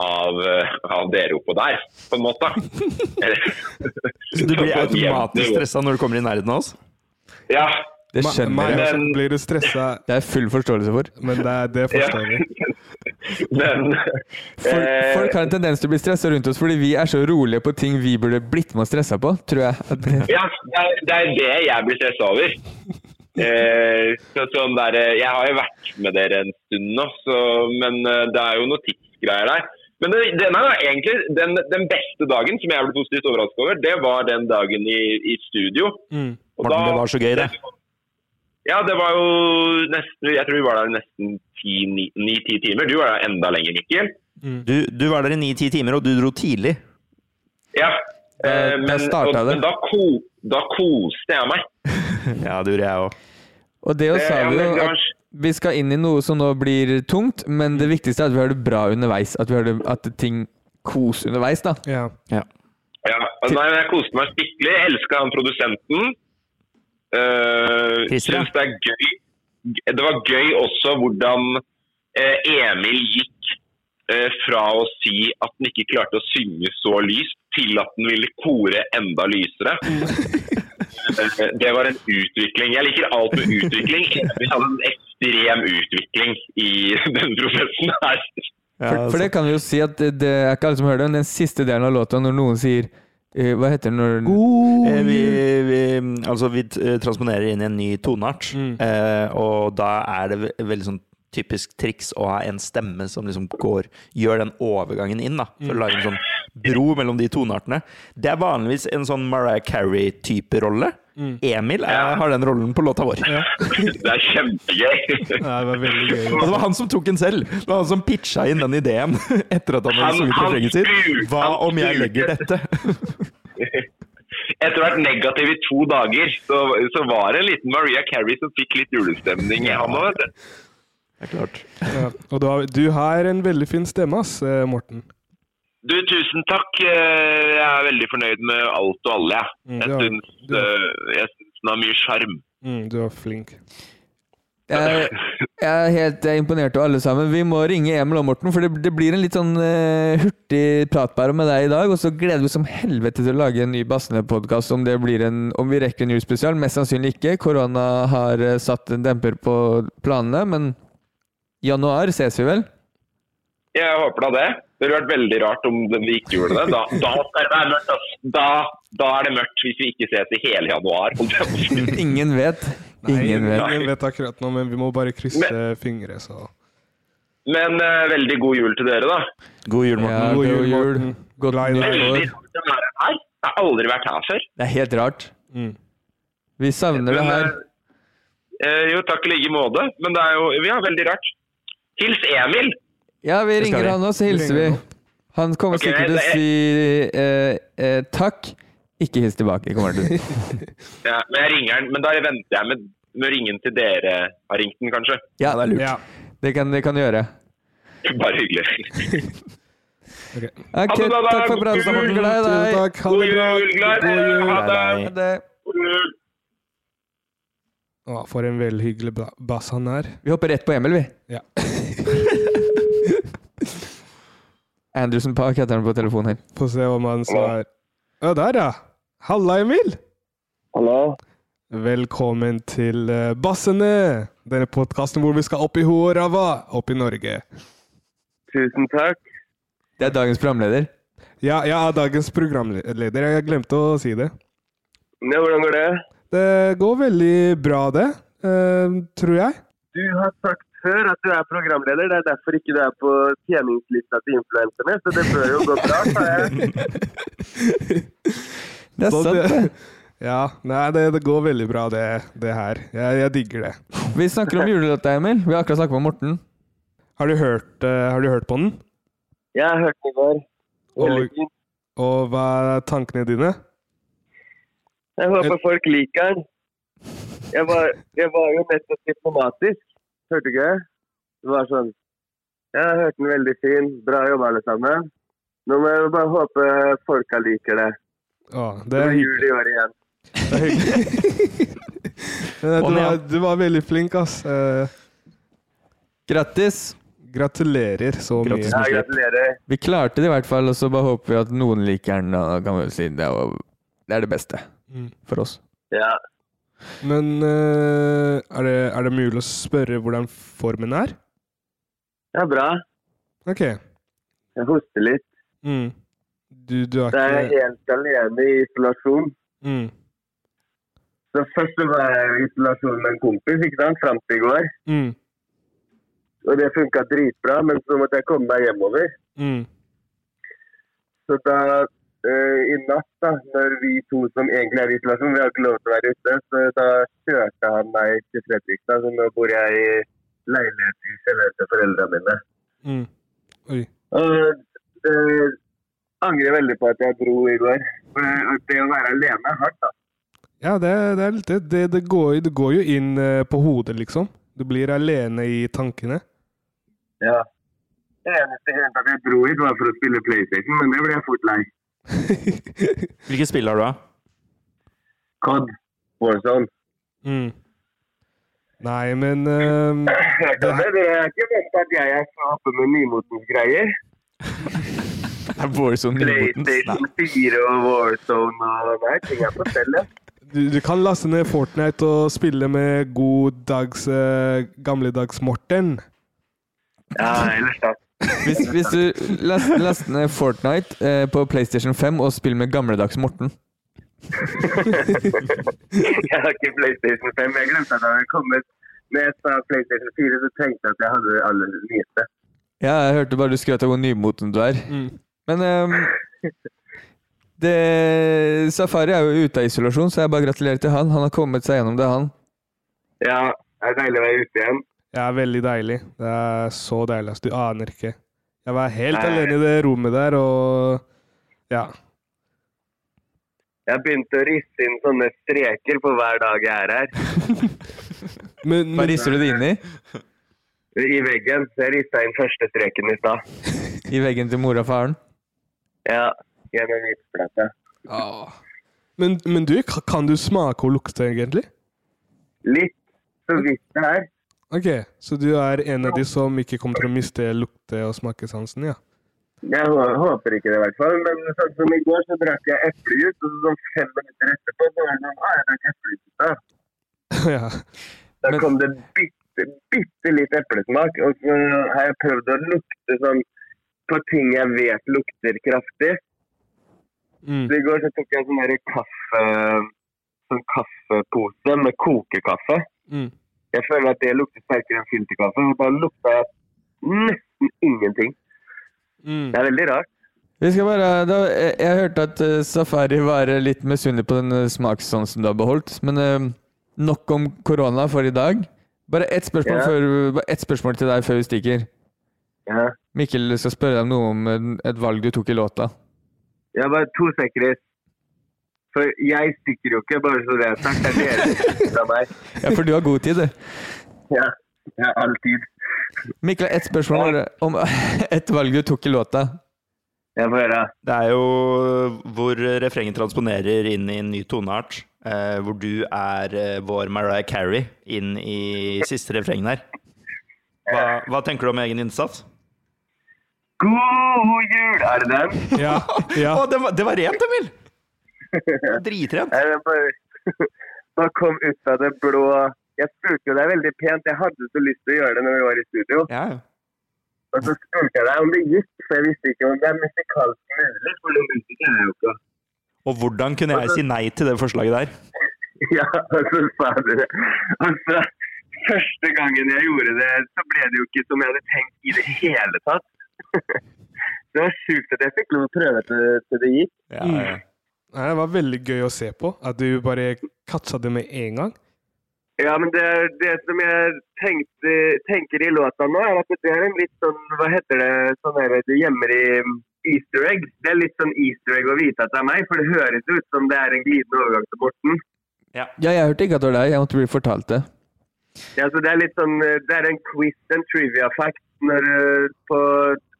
av, eh, av dere oppå der, på en måte. Så du blir På et jevnt automatisk nivå. stressa når du kommer i nærheten av oss? Ja. Det skjønner jeg. Men- Blir du stressa? Det er full forståelse for. Men det, det forstår vi. Men [laughs] Folk, eh, folk har en tendens til å bli stressa rundt oss fordi vi er så rolige på ting vi burde blitt med og stressa på, tror jeg. At det- Ja, det er, det er det jeg blir stressa over. Eh, så, sånn der, eh, jeg har jo vært med dere en stund nå, så, men eh, det er jo noen tidsgreier der. Men det, det, nei, nei, egentlig, den, den beste dagen som jeg ble positivt overrasket over, det var den dagen i, i studio. Og Mm. Morten, da- det var så gøy, det. Ja, det var jo nesten Jeg tror vi var der nesten ti- ni- ni-ti timer. Du var der enda lenger, Mikkel. Mm. Du, du var der i ni-ti timer, og du dro tidlig. Ja. eh, Da- da men startet og, det. men da, ko, da koste jeg meg. [laughs] Ja, det gjorde jeg òg. Og det også Eh, sa ja, vi men jo det var- at vi skal inn i noe som nå blir tungt, men det viktigste er at vi har det bra underveis. At vi har det, at ting kos underveis, da. Ja. Ja, altså, nei, men jeg koste meg skikkelig. Jeg elska han produsenten. Uh, Christer, ja. Syns det er gøy. Det var gøy også hvordan eh, Emil gikk eh, fra å si at han ikke klarte å synge så lyst, til at han ville kore enda lysere. Eh, det var en utvikling. Jeg liker alt med utvikling. Emil hadde en ekstrem utvikling i [laughs] den prosessen her. For, for det kan vi jo si at det, det er ikke alle som hører det, men den siste delen av låta, når noen sier eh, Hva heter det når Eh, Vi, vi, altså, vi eh, transponerer inn i en ny toneart, eh, og da er det ve- veldig sånn typisk triks å ha en stemme som liksom går, gjør den overgangen inn, da, for å lage en sånn bro mellom de toneartene. Det er vanligvis en sånn Mariah Carey-type rolle. Emil er, har den rollen på låta vår. [laughs] Det er [laughs] kjempegøy. Ja, det var veldig gøy. Og Altså, det var han som tok den selv! Det var han som pitcha inn den ideen [laughs] etter at han hadde Han- sunget han refrenget sitt. spurte- Hva han om jeg spurte. legger dette? Etter å ha vært negativ i to dager, så, så var det en liten Maria Carey som fikk litt julestemning i han òg, vet du. Det er klart. Ja. Og du har, du har en veldig fin stemme, ass, eh, Morten. Du, tusen takk. Eh, Jeg er veldig fornøyd med alt og alle, Mm, jeg. det er- Jeg syns, det er- eh, jeg syns den har mye sjarm. Mm, du er flink. Jeg, jeg er helt jeg er imponert over alle sammen. Vi må ringe Emil og Morten, for det, det blir en litt sånn eh, hurtig pratbare med deg i dag. Og så gleder vi oss som helvete til å lage en ny Bassene-podkast om, det blir en- om vi rekker en julespesial. Mest sannsynlig ikke. Korona har eh, satt en demper på planene, men januar ses vi [laughs] vel? Jeg håper da det. Det ville vært veldig rart om det- vi ikke gjorde det. Da, da skal det være mørkt, ass. Da, da er det mørkt, hvis vi ikke ses i hele januar. holdt jeg på å si. Ingen vet. Ingen Nei, vet. ingen vet akkurat nå, men vi må bare krysse fingre, så Men eh, veldig god jul til dere, da. God jul, Morten. Ja, God god jul, jul. Morten. Godt Mm. Glad i deg. nytt Veldig år. rart å være her. Jeg har aldri vært her før. Det er helt rart. Mm. Vi savner det Men, her. eh, jo, takk i like måte. Men det er jo vi har veldig rart. Hils Emil! Ja, vi skal ringer vi. han nå, så hilser vi. Han kommer Ok, sikkert til å det er- si eh, eh, takk. Ikke hils tilbake, kommer han til. [laughs] å si. Ja, men, jeg ringer han, men da venter jeg med, med ringen til dere har ringt den, kanskje. Ja, det er Ja. Det kan det kan du gjøre. [laughs] Bare hyggelig. Ok, Ha det bra, da. takk for God praten, Morten. jul. Glad i Tusen deg. takk. Ha det God bra. jul, glad i dere. Ha det. Glad i Ha det. God jul! Å, for en velhyggelig ba- bass han er. Vi hopper rett på Emil, vi. Ja. [laughs] Anderson Park heter han på telefonen her. Få se om han svarer. Ja, der, ja. Halla, Emil. Hallo. Velkommen til eh, Bassene. Denne podkasten hvor vi skal opp i hoet og ræva opp i Norge. Tusen takk. Det er dagens programleder. Ja, jeg er dagens programleder. Jeg glemte å si det. Ja, hvordan går det? Det går veldig bra, det. eh, tror jeg. Du har sagt før at du er programleder. Det er derfor ikke du er på tjeningslista til influenserne, så det bør jo gå bra. sa [laughs] jeg. Det er Sånn, Så sant, det. Ja, nei, det, det går veldig bra, det, det her. Jeg, jeg digger det. Vi snakker om julelåta, Emil. Vi har akkurat snakket med Morten. Har du hørt, eh, har du hørt på den? Jeg har hørt den i går. Veldig Og, fint. og hva er tankene dine? Jeg håper folk liker den. Jeg var, jeg var jo nettopp diplomatisk. Hørte du ikke? Det var sånn Jeg har hørt den veldig fin. Bra jobba, alle sammen. Nå må jeg bare håpe folka liker det. Å, Det det, er jul i år igjen. Det er hyggelig. Men Kom Eh, du, var, igjen. du var veldig flink, ass. Eh, Grattis! Gratulerer så mye. Grattis med slipp. Vi klarte det i hvert fall, og så bare håper vi at noen liker den. Da kan vi jo si det, er jo- det er det beste Mm. for oss. Ja. Men eh, er, det, er det mulig å spørre hvordan formen er? Det er bra. Ok. Jeg hoster litt. Mm. Du, du er Da er jeg ikke helt alene i isolasjon. mm. Så først så var jeg i isolasjon med en kompis ikke sant, fram til i går. Mm. Og det funka dritbra, men så måtte jeg komme meg hjemover. Mm. Så da eh, i natt, da, når vi to som egentlig er i isolasjon, vi har ikke lov til å være ute, så da kjørte han meg til Fredrikstad. Så nå bor jeg i leilighet i kjelleren til foreldrene mine. Mm. Oi. Og eh, angrer veldig på at jeg dro i går. For det, at det å være alene er hardt, da. Ja, det, det er litt det. Det, det, går, jo- det går jo inn eh, på hodet, liksom. Du blir alene i tankene. Ja. Det eneste grunnen til at jeg dro hit, var for å spille PlayStation, men det ble jeg fort lei. Hvilke spill har du, da? Cod. Warzone. Mm. Nei, men ehm, Jeg kan det. Dere er ikke vant til at jeg er så oppe med nymotens [laughs] greier. Det er Warzone PlayStation 4 og Warzone og nei, ting er på stell. ja. du, du kan laste ned Fortnite og spille med god dags eh, gamledags Morten. Ja, ellers da. Hvis, hvis du last, last ned Fortnite eh, på PlayStation 5 og spiller med gamledags Morten jeg har ikke PlayStation 5. Jeg glemte at det hadde kommet. Når jeg sa PlayStation 4, så tenkte jeg at jeg hadde det aller nyeste. Ja, jeg hørte bare du skrøt av hvor nymoten du er. Men ehm, det, Safari er jo ute av isolasjon, så jeg bare gratulerer til han. Han har kommet seg gjennom det, han. Ja, det er deilig å være ute igjen. Det er veldig deilig. Det er så deilig, ass. Du aner ikke. Jeg var helt Nei. alene i det rommet der, og ja. Jeg begynte å risse inn sånne streker på hver dag jeg er her. Men, Hva rister du det inn i? I veggen. Så jeg rissa inn første streken i stad. I veggen til mora og faren? Ja, gjennom hvitplata. men, men du, ka- kan du smake og lukte, egentlig? Litt. Så vidt det er. Ok, så du er en av de som ikke kommer til å miste lukte- og smakesansen, ja? [laughs] Jeg hå- håper ikke det, i hvert fall. Men sånn som i går, så drakk jeg eplejus, og så sånn fem minutter etterpå så var det sånn ah, jeg drakk eplejus i stad. ja. Da kom det bitte, bitte litt eplesmak. Og så har jeg prøvd å lukte sånn på ting jeg vet lukter kraftig. Mm. Så I går så tok jeg sånn der kaffe, sånn kaffepose med kokekaffe. Mm. Jeg føler at det lukter sterkere enn filterkaffe. Og da lukta jeg nesten ingenting. Mm. Det er veldig rart. Vi skal bare, da, jeg, jeg hørte at eh, Safari var eh, litt misunnelig på den eh, smakssansen du har beholdt. Men eh, nok om korona for i dag. Bare ett spørsmål, Ja. før- bare ett spørsmål til deg før vi stikker. Ja. Mikkel skal spørre deg om noe om eh, et valg du tok i låta. Jeg har bare to sikkerhet. For jeg stikker jo ikke, bare så det er sagt. Det er dere som stikker av meg. Ja, for du har god tid, du. Ja, jeg har all tid. Mikkel, ett spørsmål bare om [laughs] et valg du tok i låta. Jeg får høre. Det er jo hvor refrenget transponerer inn i en ny toneart. Eh, hvor du er eh, vår Mariah Carey inn i siste refrengen her. Hva, hva tenker du om egen innsats? God jul! Er det den? Ja. ja. Å, det, var, det var rent, Emil! [laughs] Dritrent. Nei, det bare, [laughs] bare kom ut av det blå. Jeg spurte jo deg veldig pent. Jeg hadde så lyst til å gjøre det når vi var i studio. Ja, Og så spurte jeg deg om det gikk, for jeg visste ikke om det er musikalsk mulig. For det musiker er jeg jo ikke. [laughs] Og hvordan kunne jeg si nei til det forslaget der? Ja, og så sa du det. Og så første gangen jeg gjorde det, så ble det jo ikke som jeg hadde tenkt i det hele tatt. Det var sjukt at jeg fikk lov å prøve til, til det gikk. Ja, ja. Nei, det var veldig gøy å se på. At du bare catcha det med en gang. Ja, men det, er det som jeg tenkte, tenker i låta nå, er at det er en litt sånn, hva heter det, sånn der du gjemmer i easter egg. Det er litt sånn easter egg å vite at det er meg, for det høres ut som det er en glidende overgang til Morten. Ja, jeg hørte ikke at det var deg. Jeg måtte bli fortalt det. Ja, så det er litt sånn, eh, det er en quiz, en trivia fact, når eh, på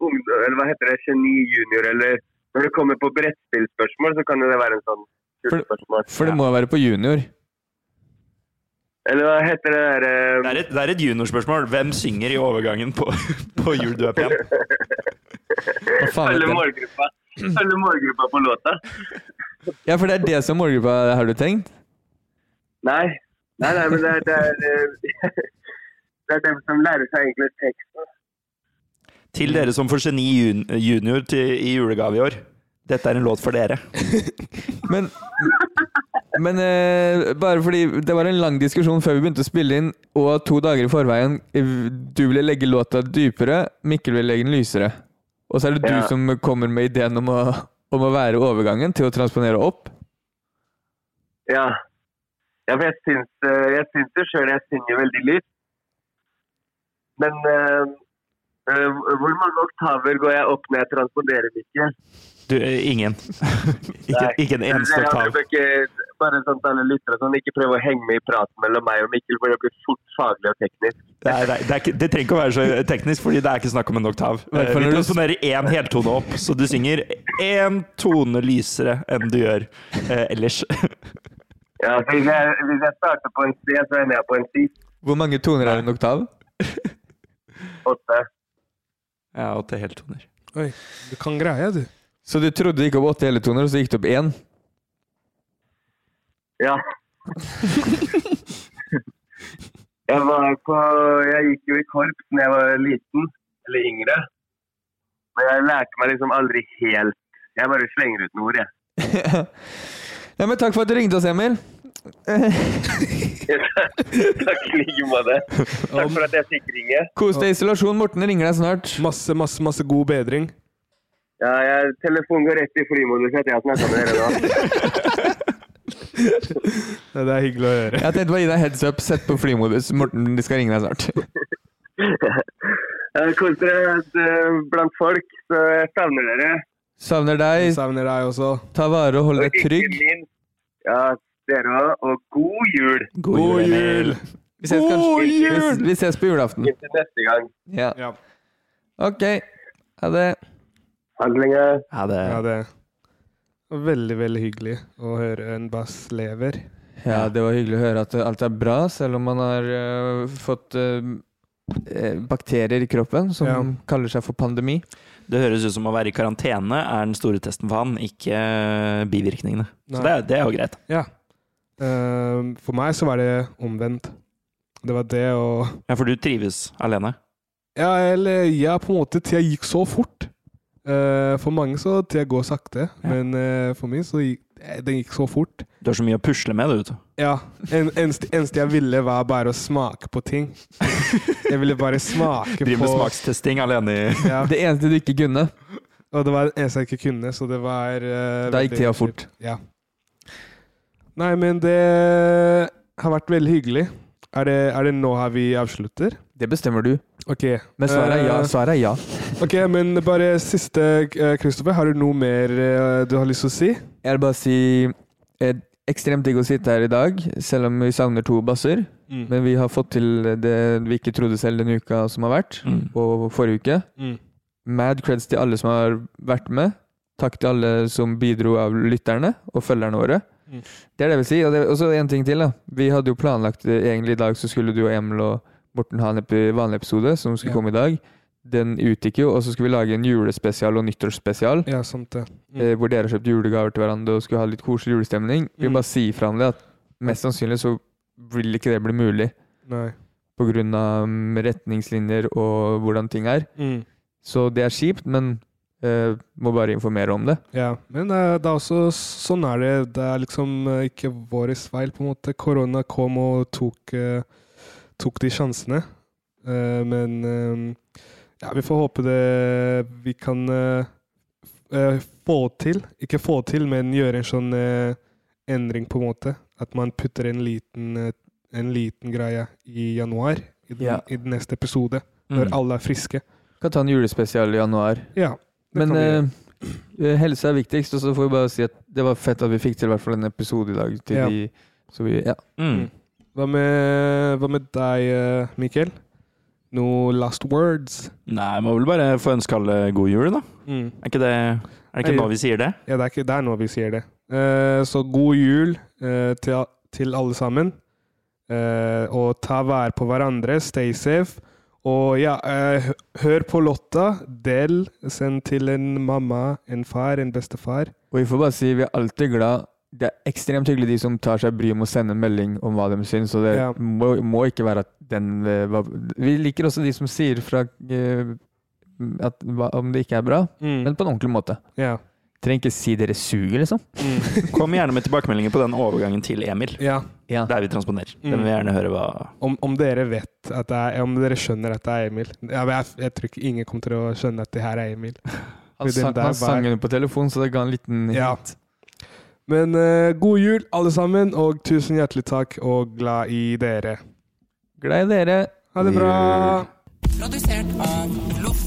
ungdom, eller hva heter det, geni junior, eller når det kommer på brettspillspørsmål, så kan jo det være en sånn kul For, spørsmål. For det må jo være på junior. Eller hva heter det der eh, Det er et, det er et juniorspørsmål. Hvem synger i overgangen på, [laughs] på Jul du er pen? Følge målgruppa. Følge målgruppa på låta. Ja, for det er det som er målgruppa er, har du tenkt? Nei. Nei, nei, men det er, det, er, [laughs] eh, det er dem som lærer seg egentlig teksten. Til dere som får Geni jun- junior til, i julegave i år. Dette er en låt for dere. Men, men eh, bare fordi det var en lang diskusjon før vi begynte å spille inn, og to dager i forveien eh, Du ville legge låta dypere, Mikkel ville legge den lysere. Og så er det Ja. du som kommer med ideen om å, om å være overgangen til å transponere opp. Ja. ja for jeg syns, eh, jeg syns jo sjøl jeg synger veldig lyst. Men eh, eh, hvor mange oktaver går jeg opp når jeg transponderer, Mikkel? Du, eh, ingen. [laughs] ikke, Nei. ikke en eneste Jeg oktav. håper ikke- Bare sånn til alle lyttere, sånn, ikke prøv å henge med i praten mellom meg og Mikkel, for det blir fort faglig og teknisk. Det, er, det, er, det, er ikke, det trenger ikke å være så teknisk, fordi det er ikke snakk om en oktav. Hvertfall Eh, Vi når du- transponerer én heltone opp, så du synger én tone lysere enn du gjør eh, ellers. Ja, for hvis, jeg, hvis jeg starter på en C, så ender jeg på en 10. Hvor mange toner er en oktav? Åtte. [laughs] Ja, åtte heltoner. Oi, du kan greia, du. Så du trodde det gikk opp åtte heletoner, og så gikk det opp én? Ja. [laughs] jeg var på Jeg gikk jo i korps da jeg var liten, eller yngre. Men jeg lærte meg liksom aldri helt Jeg bare slenger ut noen ord, jeg. [laughs] Ja, men takk for at du ringte oss, Emil. [laughs] Takk i like måte. Takk for at jeg fikk ringe. Kos deg i isolasjon. Morten ringer deg snart. Masse, masse, masse god bedring. Ja, jeg, telefonen går rett i flymodus etter jeg har snakka med dere nå. [laughs] Nei, Det er hyggelig å høre. Jeg tenkte bare å gi deg heads up. Sett på flymodus. Morten de skal ringe deg snart. [laughs] Jeg koser dere eh, blant folk, så jeg savner dere. Savner deg. Savner deg også. Ta vare og hold Og deg ikke trygg. minst, Ja, dere òg. Og god jul! God jul! Vi ses, kanskje- God jul! Vi, vi ses på julaften. Inntil neste gang. Ja. OK. Ha det. Ha det lenge. Ha det. Ja, det var veldig, veldig hyggelig å høre en bass lever. Ja, det var hyggelig å høre at alt er bra, selv om man har øh, fått øh, eh, bakterier i kroppen som Ja. kaller seg for pandemi. Det høres ut som å være i karantene er den store testen for han, ikke eh, bivirkningene. Så Nei. det, er- det er jo greit. Ja. Ehm, for meg så var det omvendt. Det var det og Ja, for du trives alene. Ja, eller ja, på en måte. Tida gikk så fort. Eh, for mange så tida går sakte, men eh, for meg så gikk eh, den gikk så fort. Du har så mye å pusle med, du. vet du. Ja. En, eneste, eneste jeg ville, var bare å smake på ting. Jeg ville bare smake Driver med på smakstesting alene i ja. Det eneste du ikke kunne. Og det var det eneste jeg ikke kunne, så det var eh, Da gikk veldig tida kjipt. fort. Ja. Nei, men det har vært veldig hyggelig. Er det, er det nå her vi avslutter? Det bestemmer du. Ok. Men svaret er ja. Eh, Svaret er ja. ok, men bare siste, eh, Kristoffer. Har du noe mer eh, du har lyst til å si? Jeg vil bare si eh, ekstremt digg å sitte her i dag, selv om vi savner to basser. Mm. Men vi har fått til det vi ikke trodde selv denne uka som har vært, Mm. og forrige uke. Mm. Mad creds til alle som har vært med. Takk til alle som bidro av lytterne og følgerne våre. Mm. Det er det jeg vil si. Og det er også en ting til. da. Vi hadde jo planlagt eh, egentlig i dag så skulle du og Emil og Morten ha en epi- vanlig episode som skulle Ja. komme i dag. Den utgikk jo, og så skulle vi lage en julespesial og nyttårsspesial. Ja, sant det. Mm. Eh, hvor dere har kjøpt julegaver til hverandre og skulle ha litt koselig julestemning. Vi Mm. bare sier fra om det at mest sannsynlig så vil ikke det bli mulig Nei. pga. retningslinjer og hvordan ting er. Mm. Så det er kjipt, men eh, må bare informere om det. Ja, men eh, det er også sånn er det. Det er liksom eh, ikke vår feil, på en måte. Korona kom og tok, eh, tok de sjansene. Eh, men eh, ja, vi får håpe det vi kan eh, f- eh, få til. Ikke få til, men gjøre en sånn eh, endring, på en måte. At man putter en liten, eh, en liten greie i januar, i den, Ja. i den neste episode. Når Mm. alle er friske. Kan ta en julespesial i januar. Ja, det Men kan vi gjøre. eh, helse er viktigst, og så får vi bare si at det var fett at vi fikk til i hvert fall en episode i dag. Til Ja. de, så vi, ja. Mm. Hva med, hva med deg, eh, Mikkel? Noe last words? Nei, må vel bare få ønske alle god jul, da. Er ikke det, er det ikke Nei, [laughs] nå vi sier det? Ja, det er, ikke, det er nå vi sier det. Eh, så god jul. eh, til, til alle sammen. Eh, og ta vare på hverandre. Stay safe. Og ja, eh, hø- hør på låta. Del. Send til en mamma, en far, en bestefar. Og vi får bare si vi er alltid glad Det er ekstremt hyggelig de som tar seg bryet med å sende en melding om hva de syns, og det Ja. må, må ikke være at den eh, hva- Vi liker også de som sier fra eh, at, hva, om det ikke er bra, men på en ordentlig måte. Ja. Trenger ikke si dere suger, liksom. Kom gjerne med tilbakemeldinger på den overgangen til Emil. Ja. Der vi transponerer. Den Mm. vil jeg gjerne høre hva Om, om dere vet at det er, om dere skjønner at det er Emil. Jeg, jeg, jeg tror ikke ingen kommer til å skjønne at det her er Emil. Han, Fordi den sang, der han var- sang den på telefon, så det ga en liten Ja. Men eh, god jul, alle sammen, og tusen hjertelig takk, og glad i dere. Glad i dere. Ha det bra. Produsert av Loff.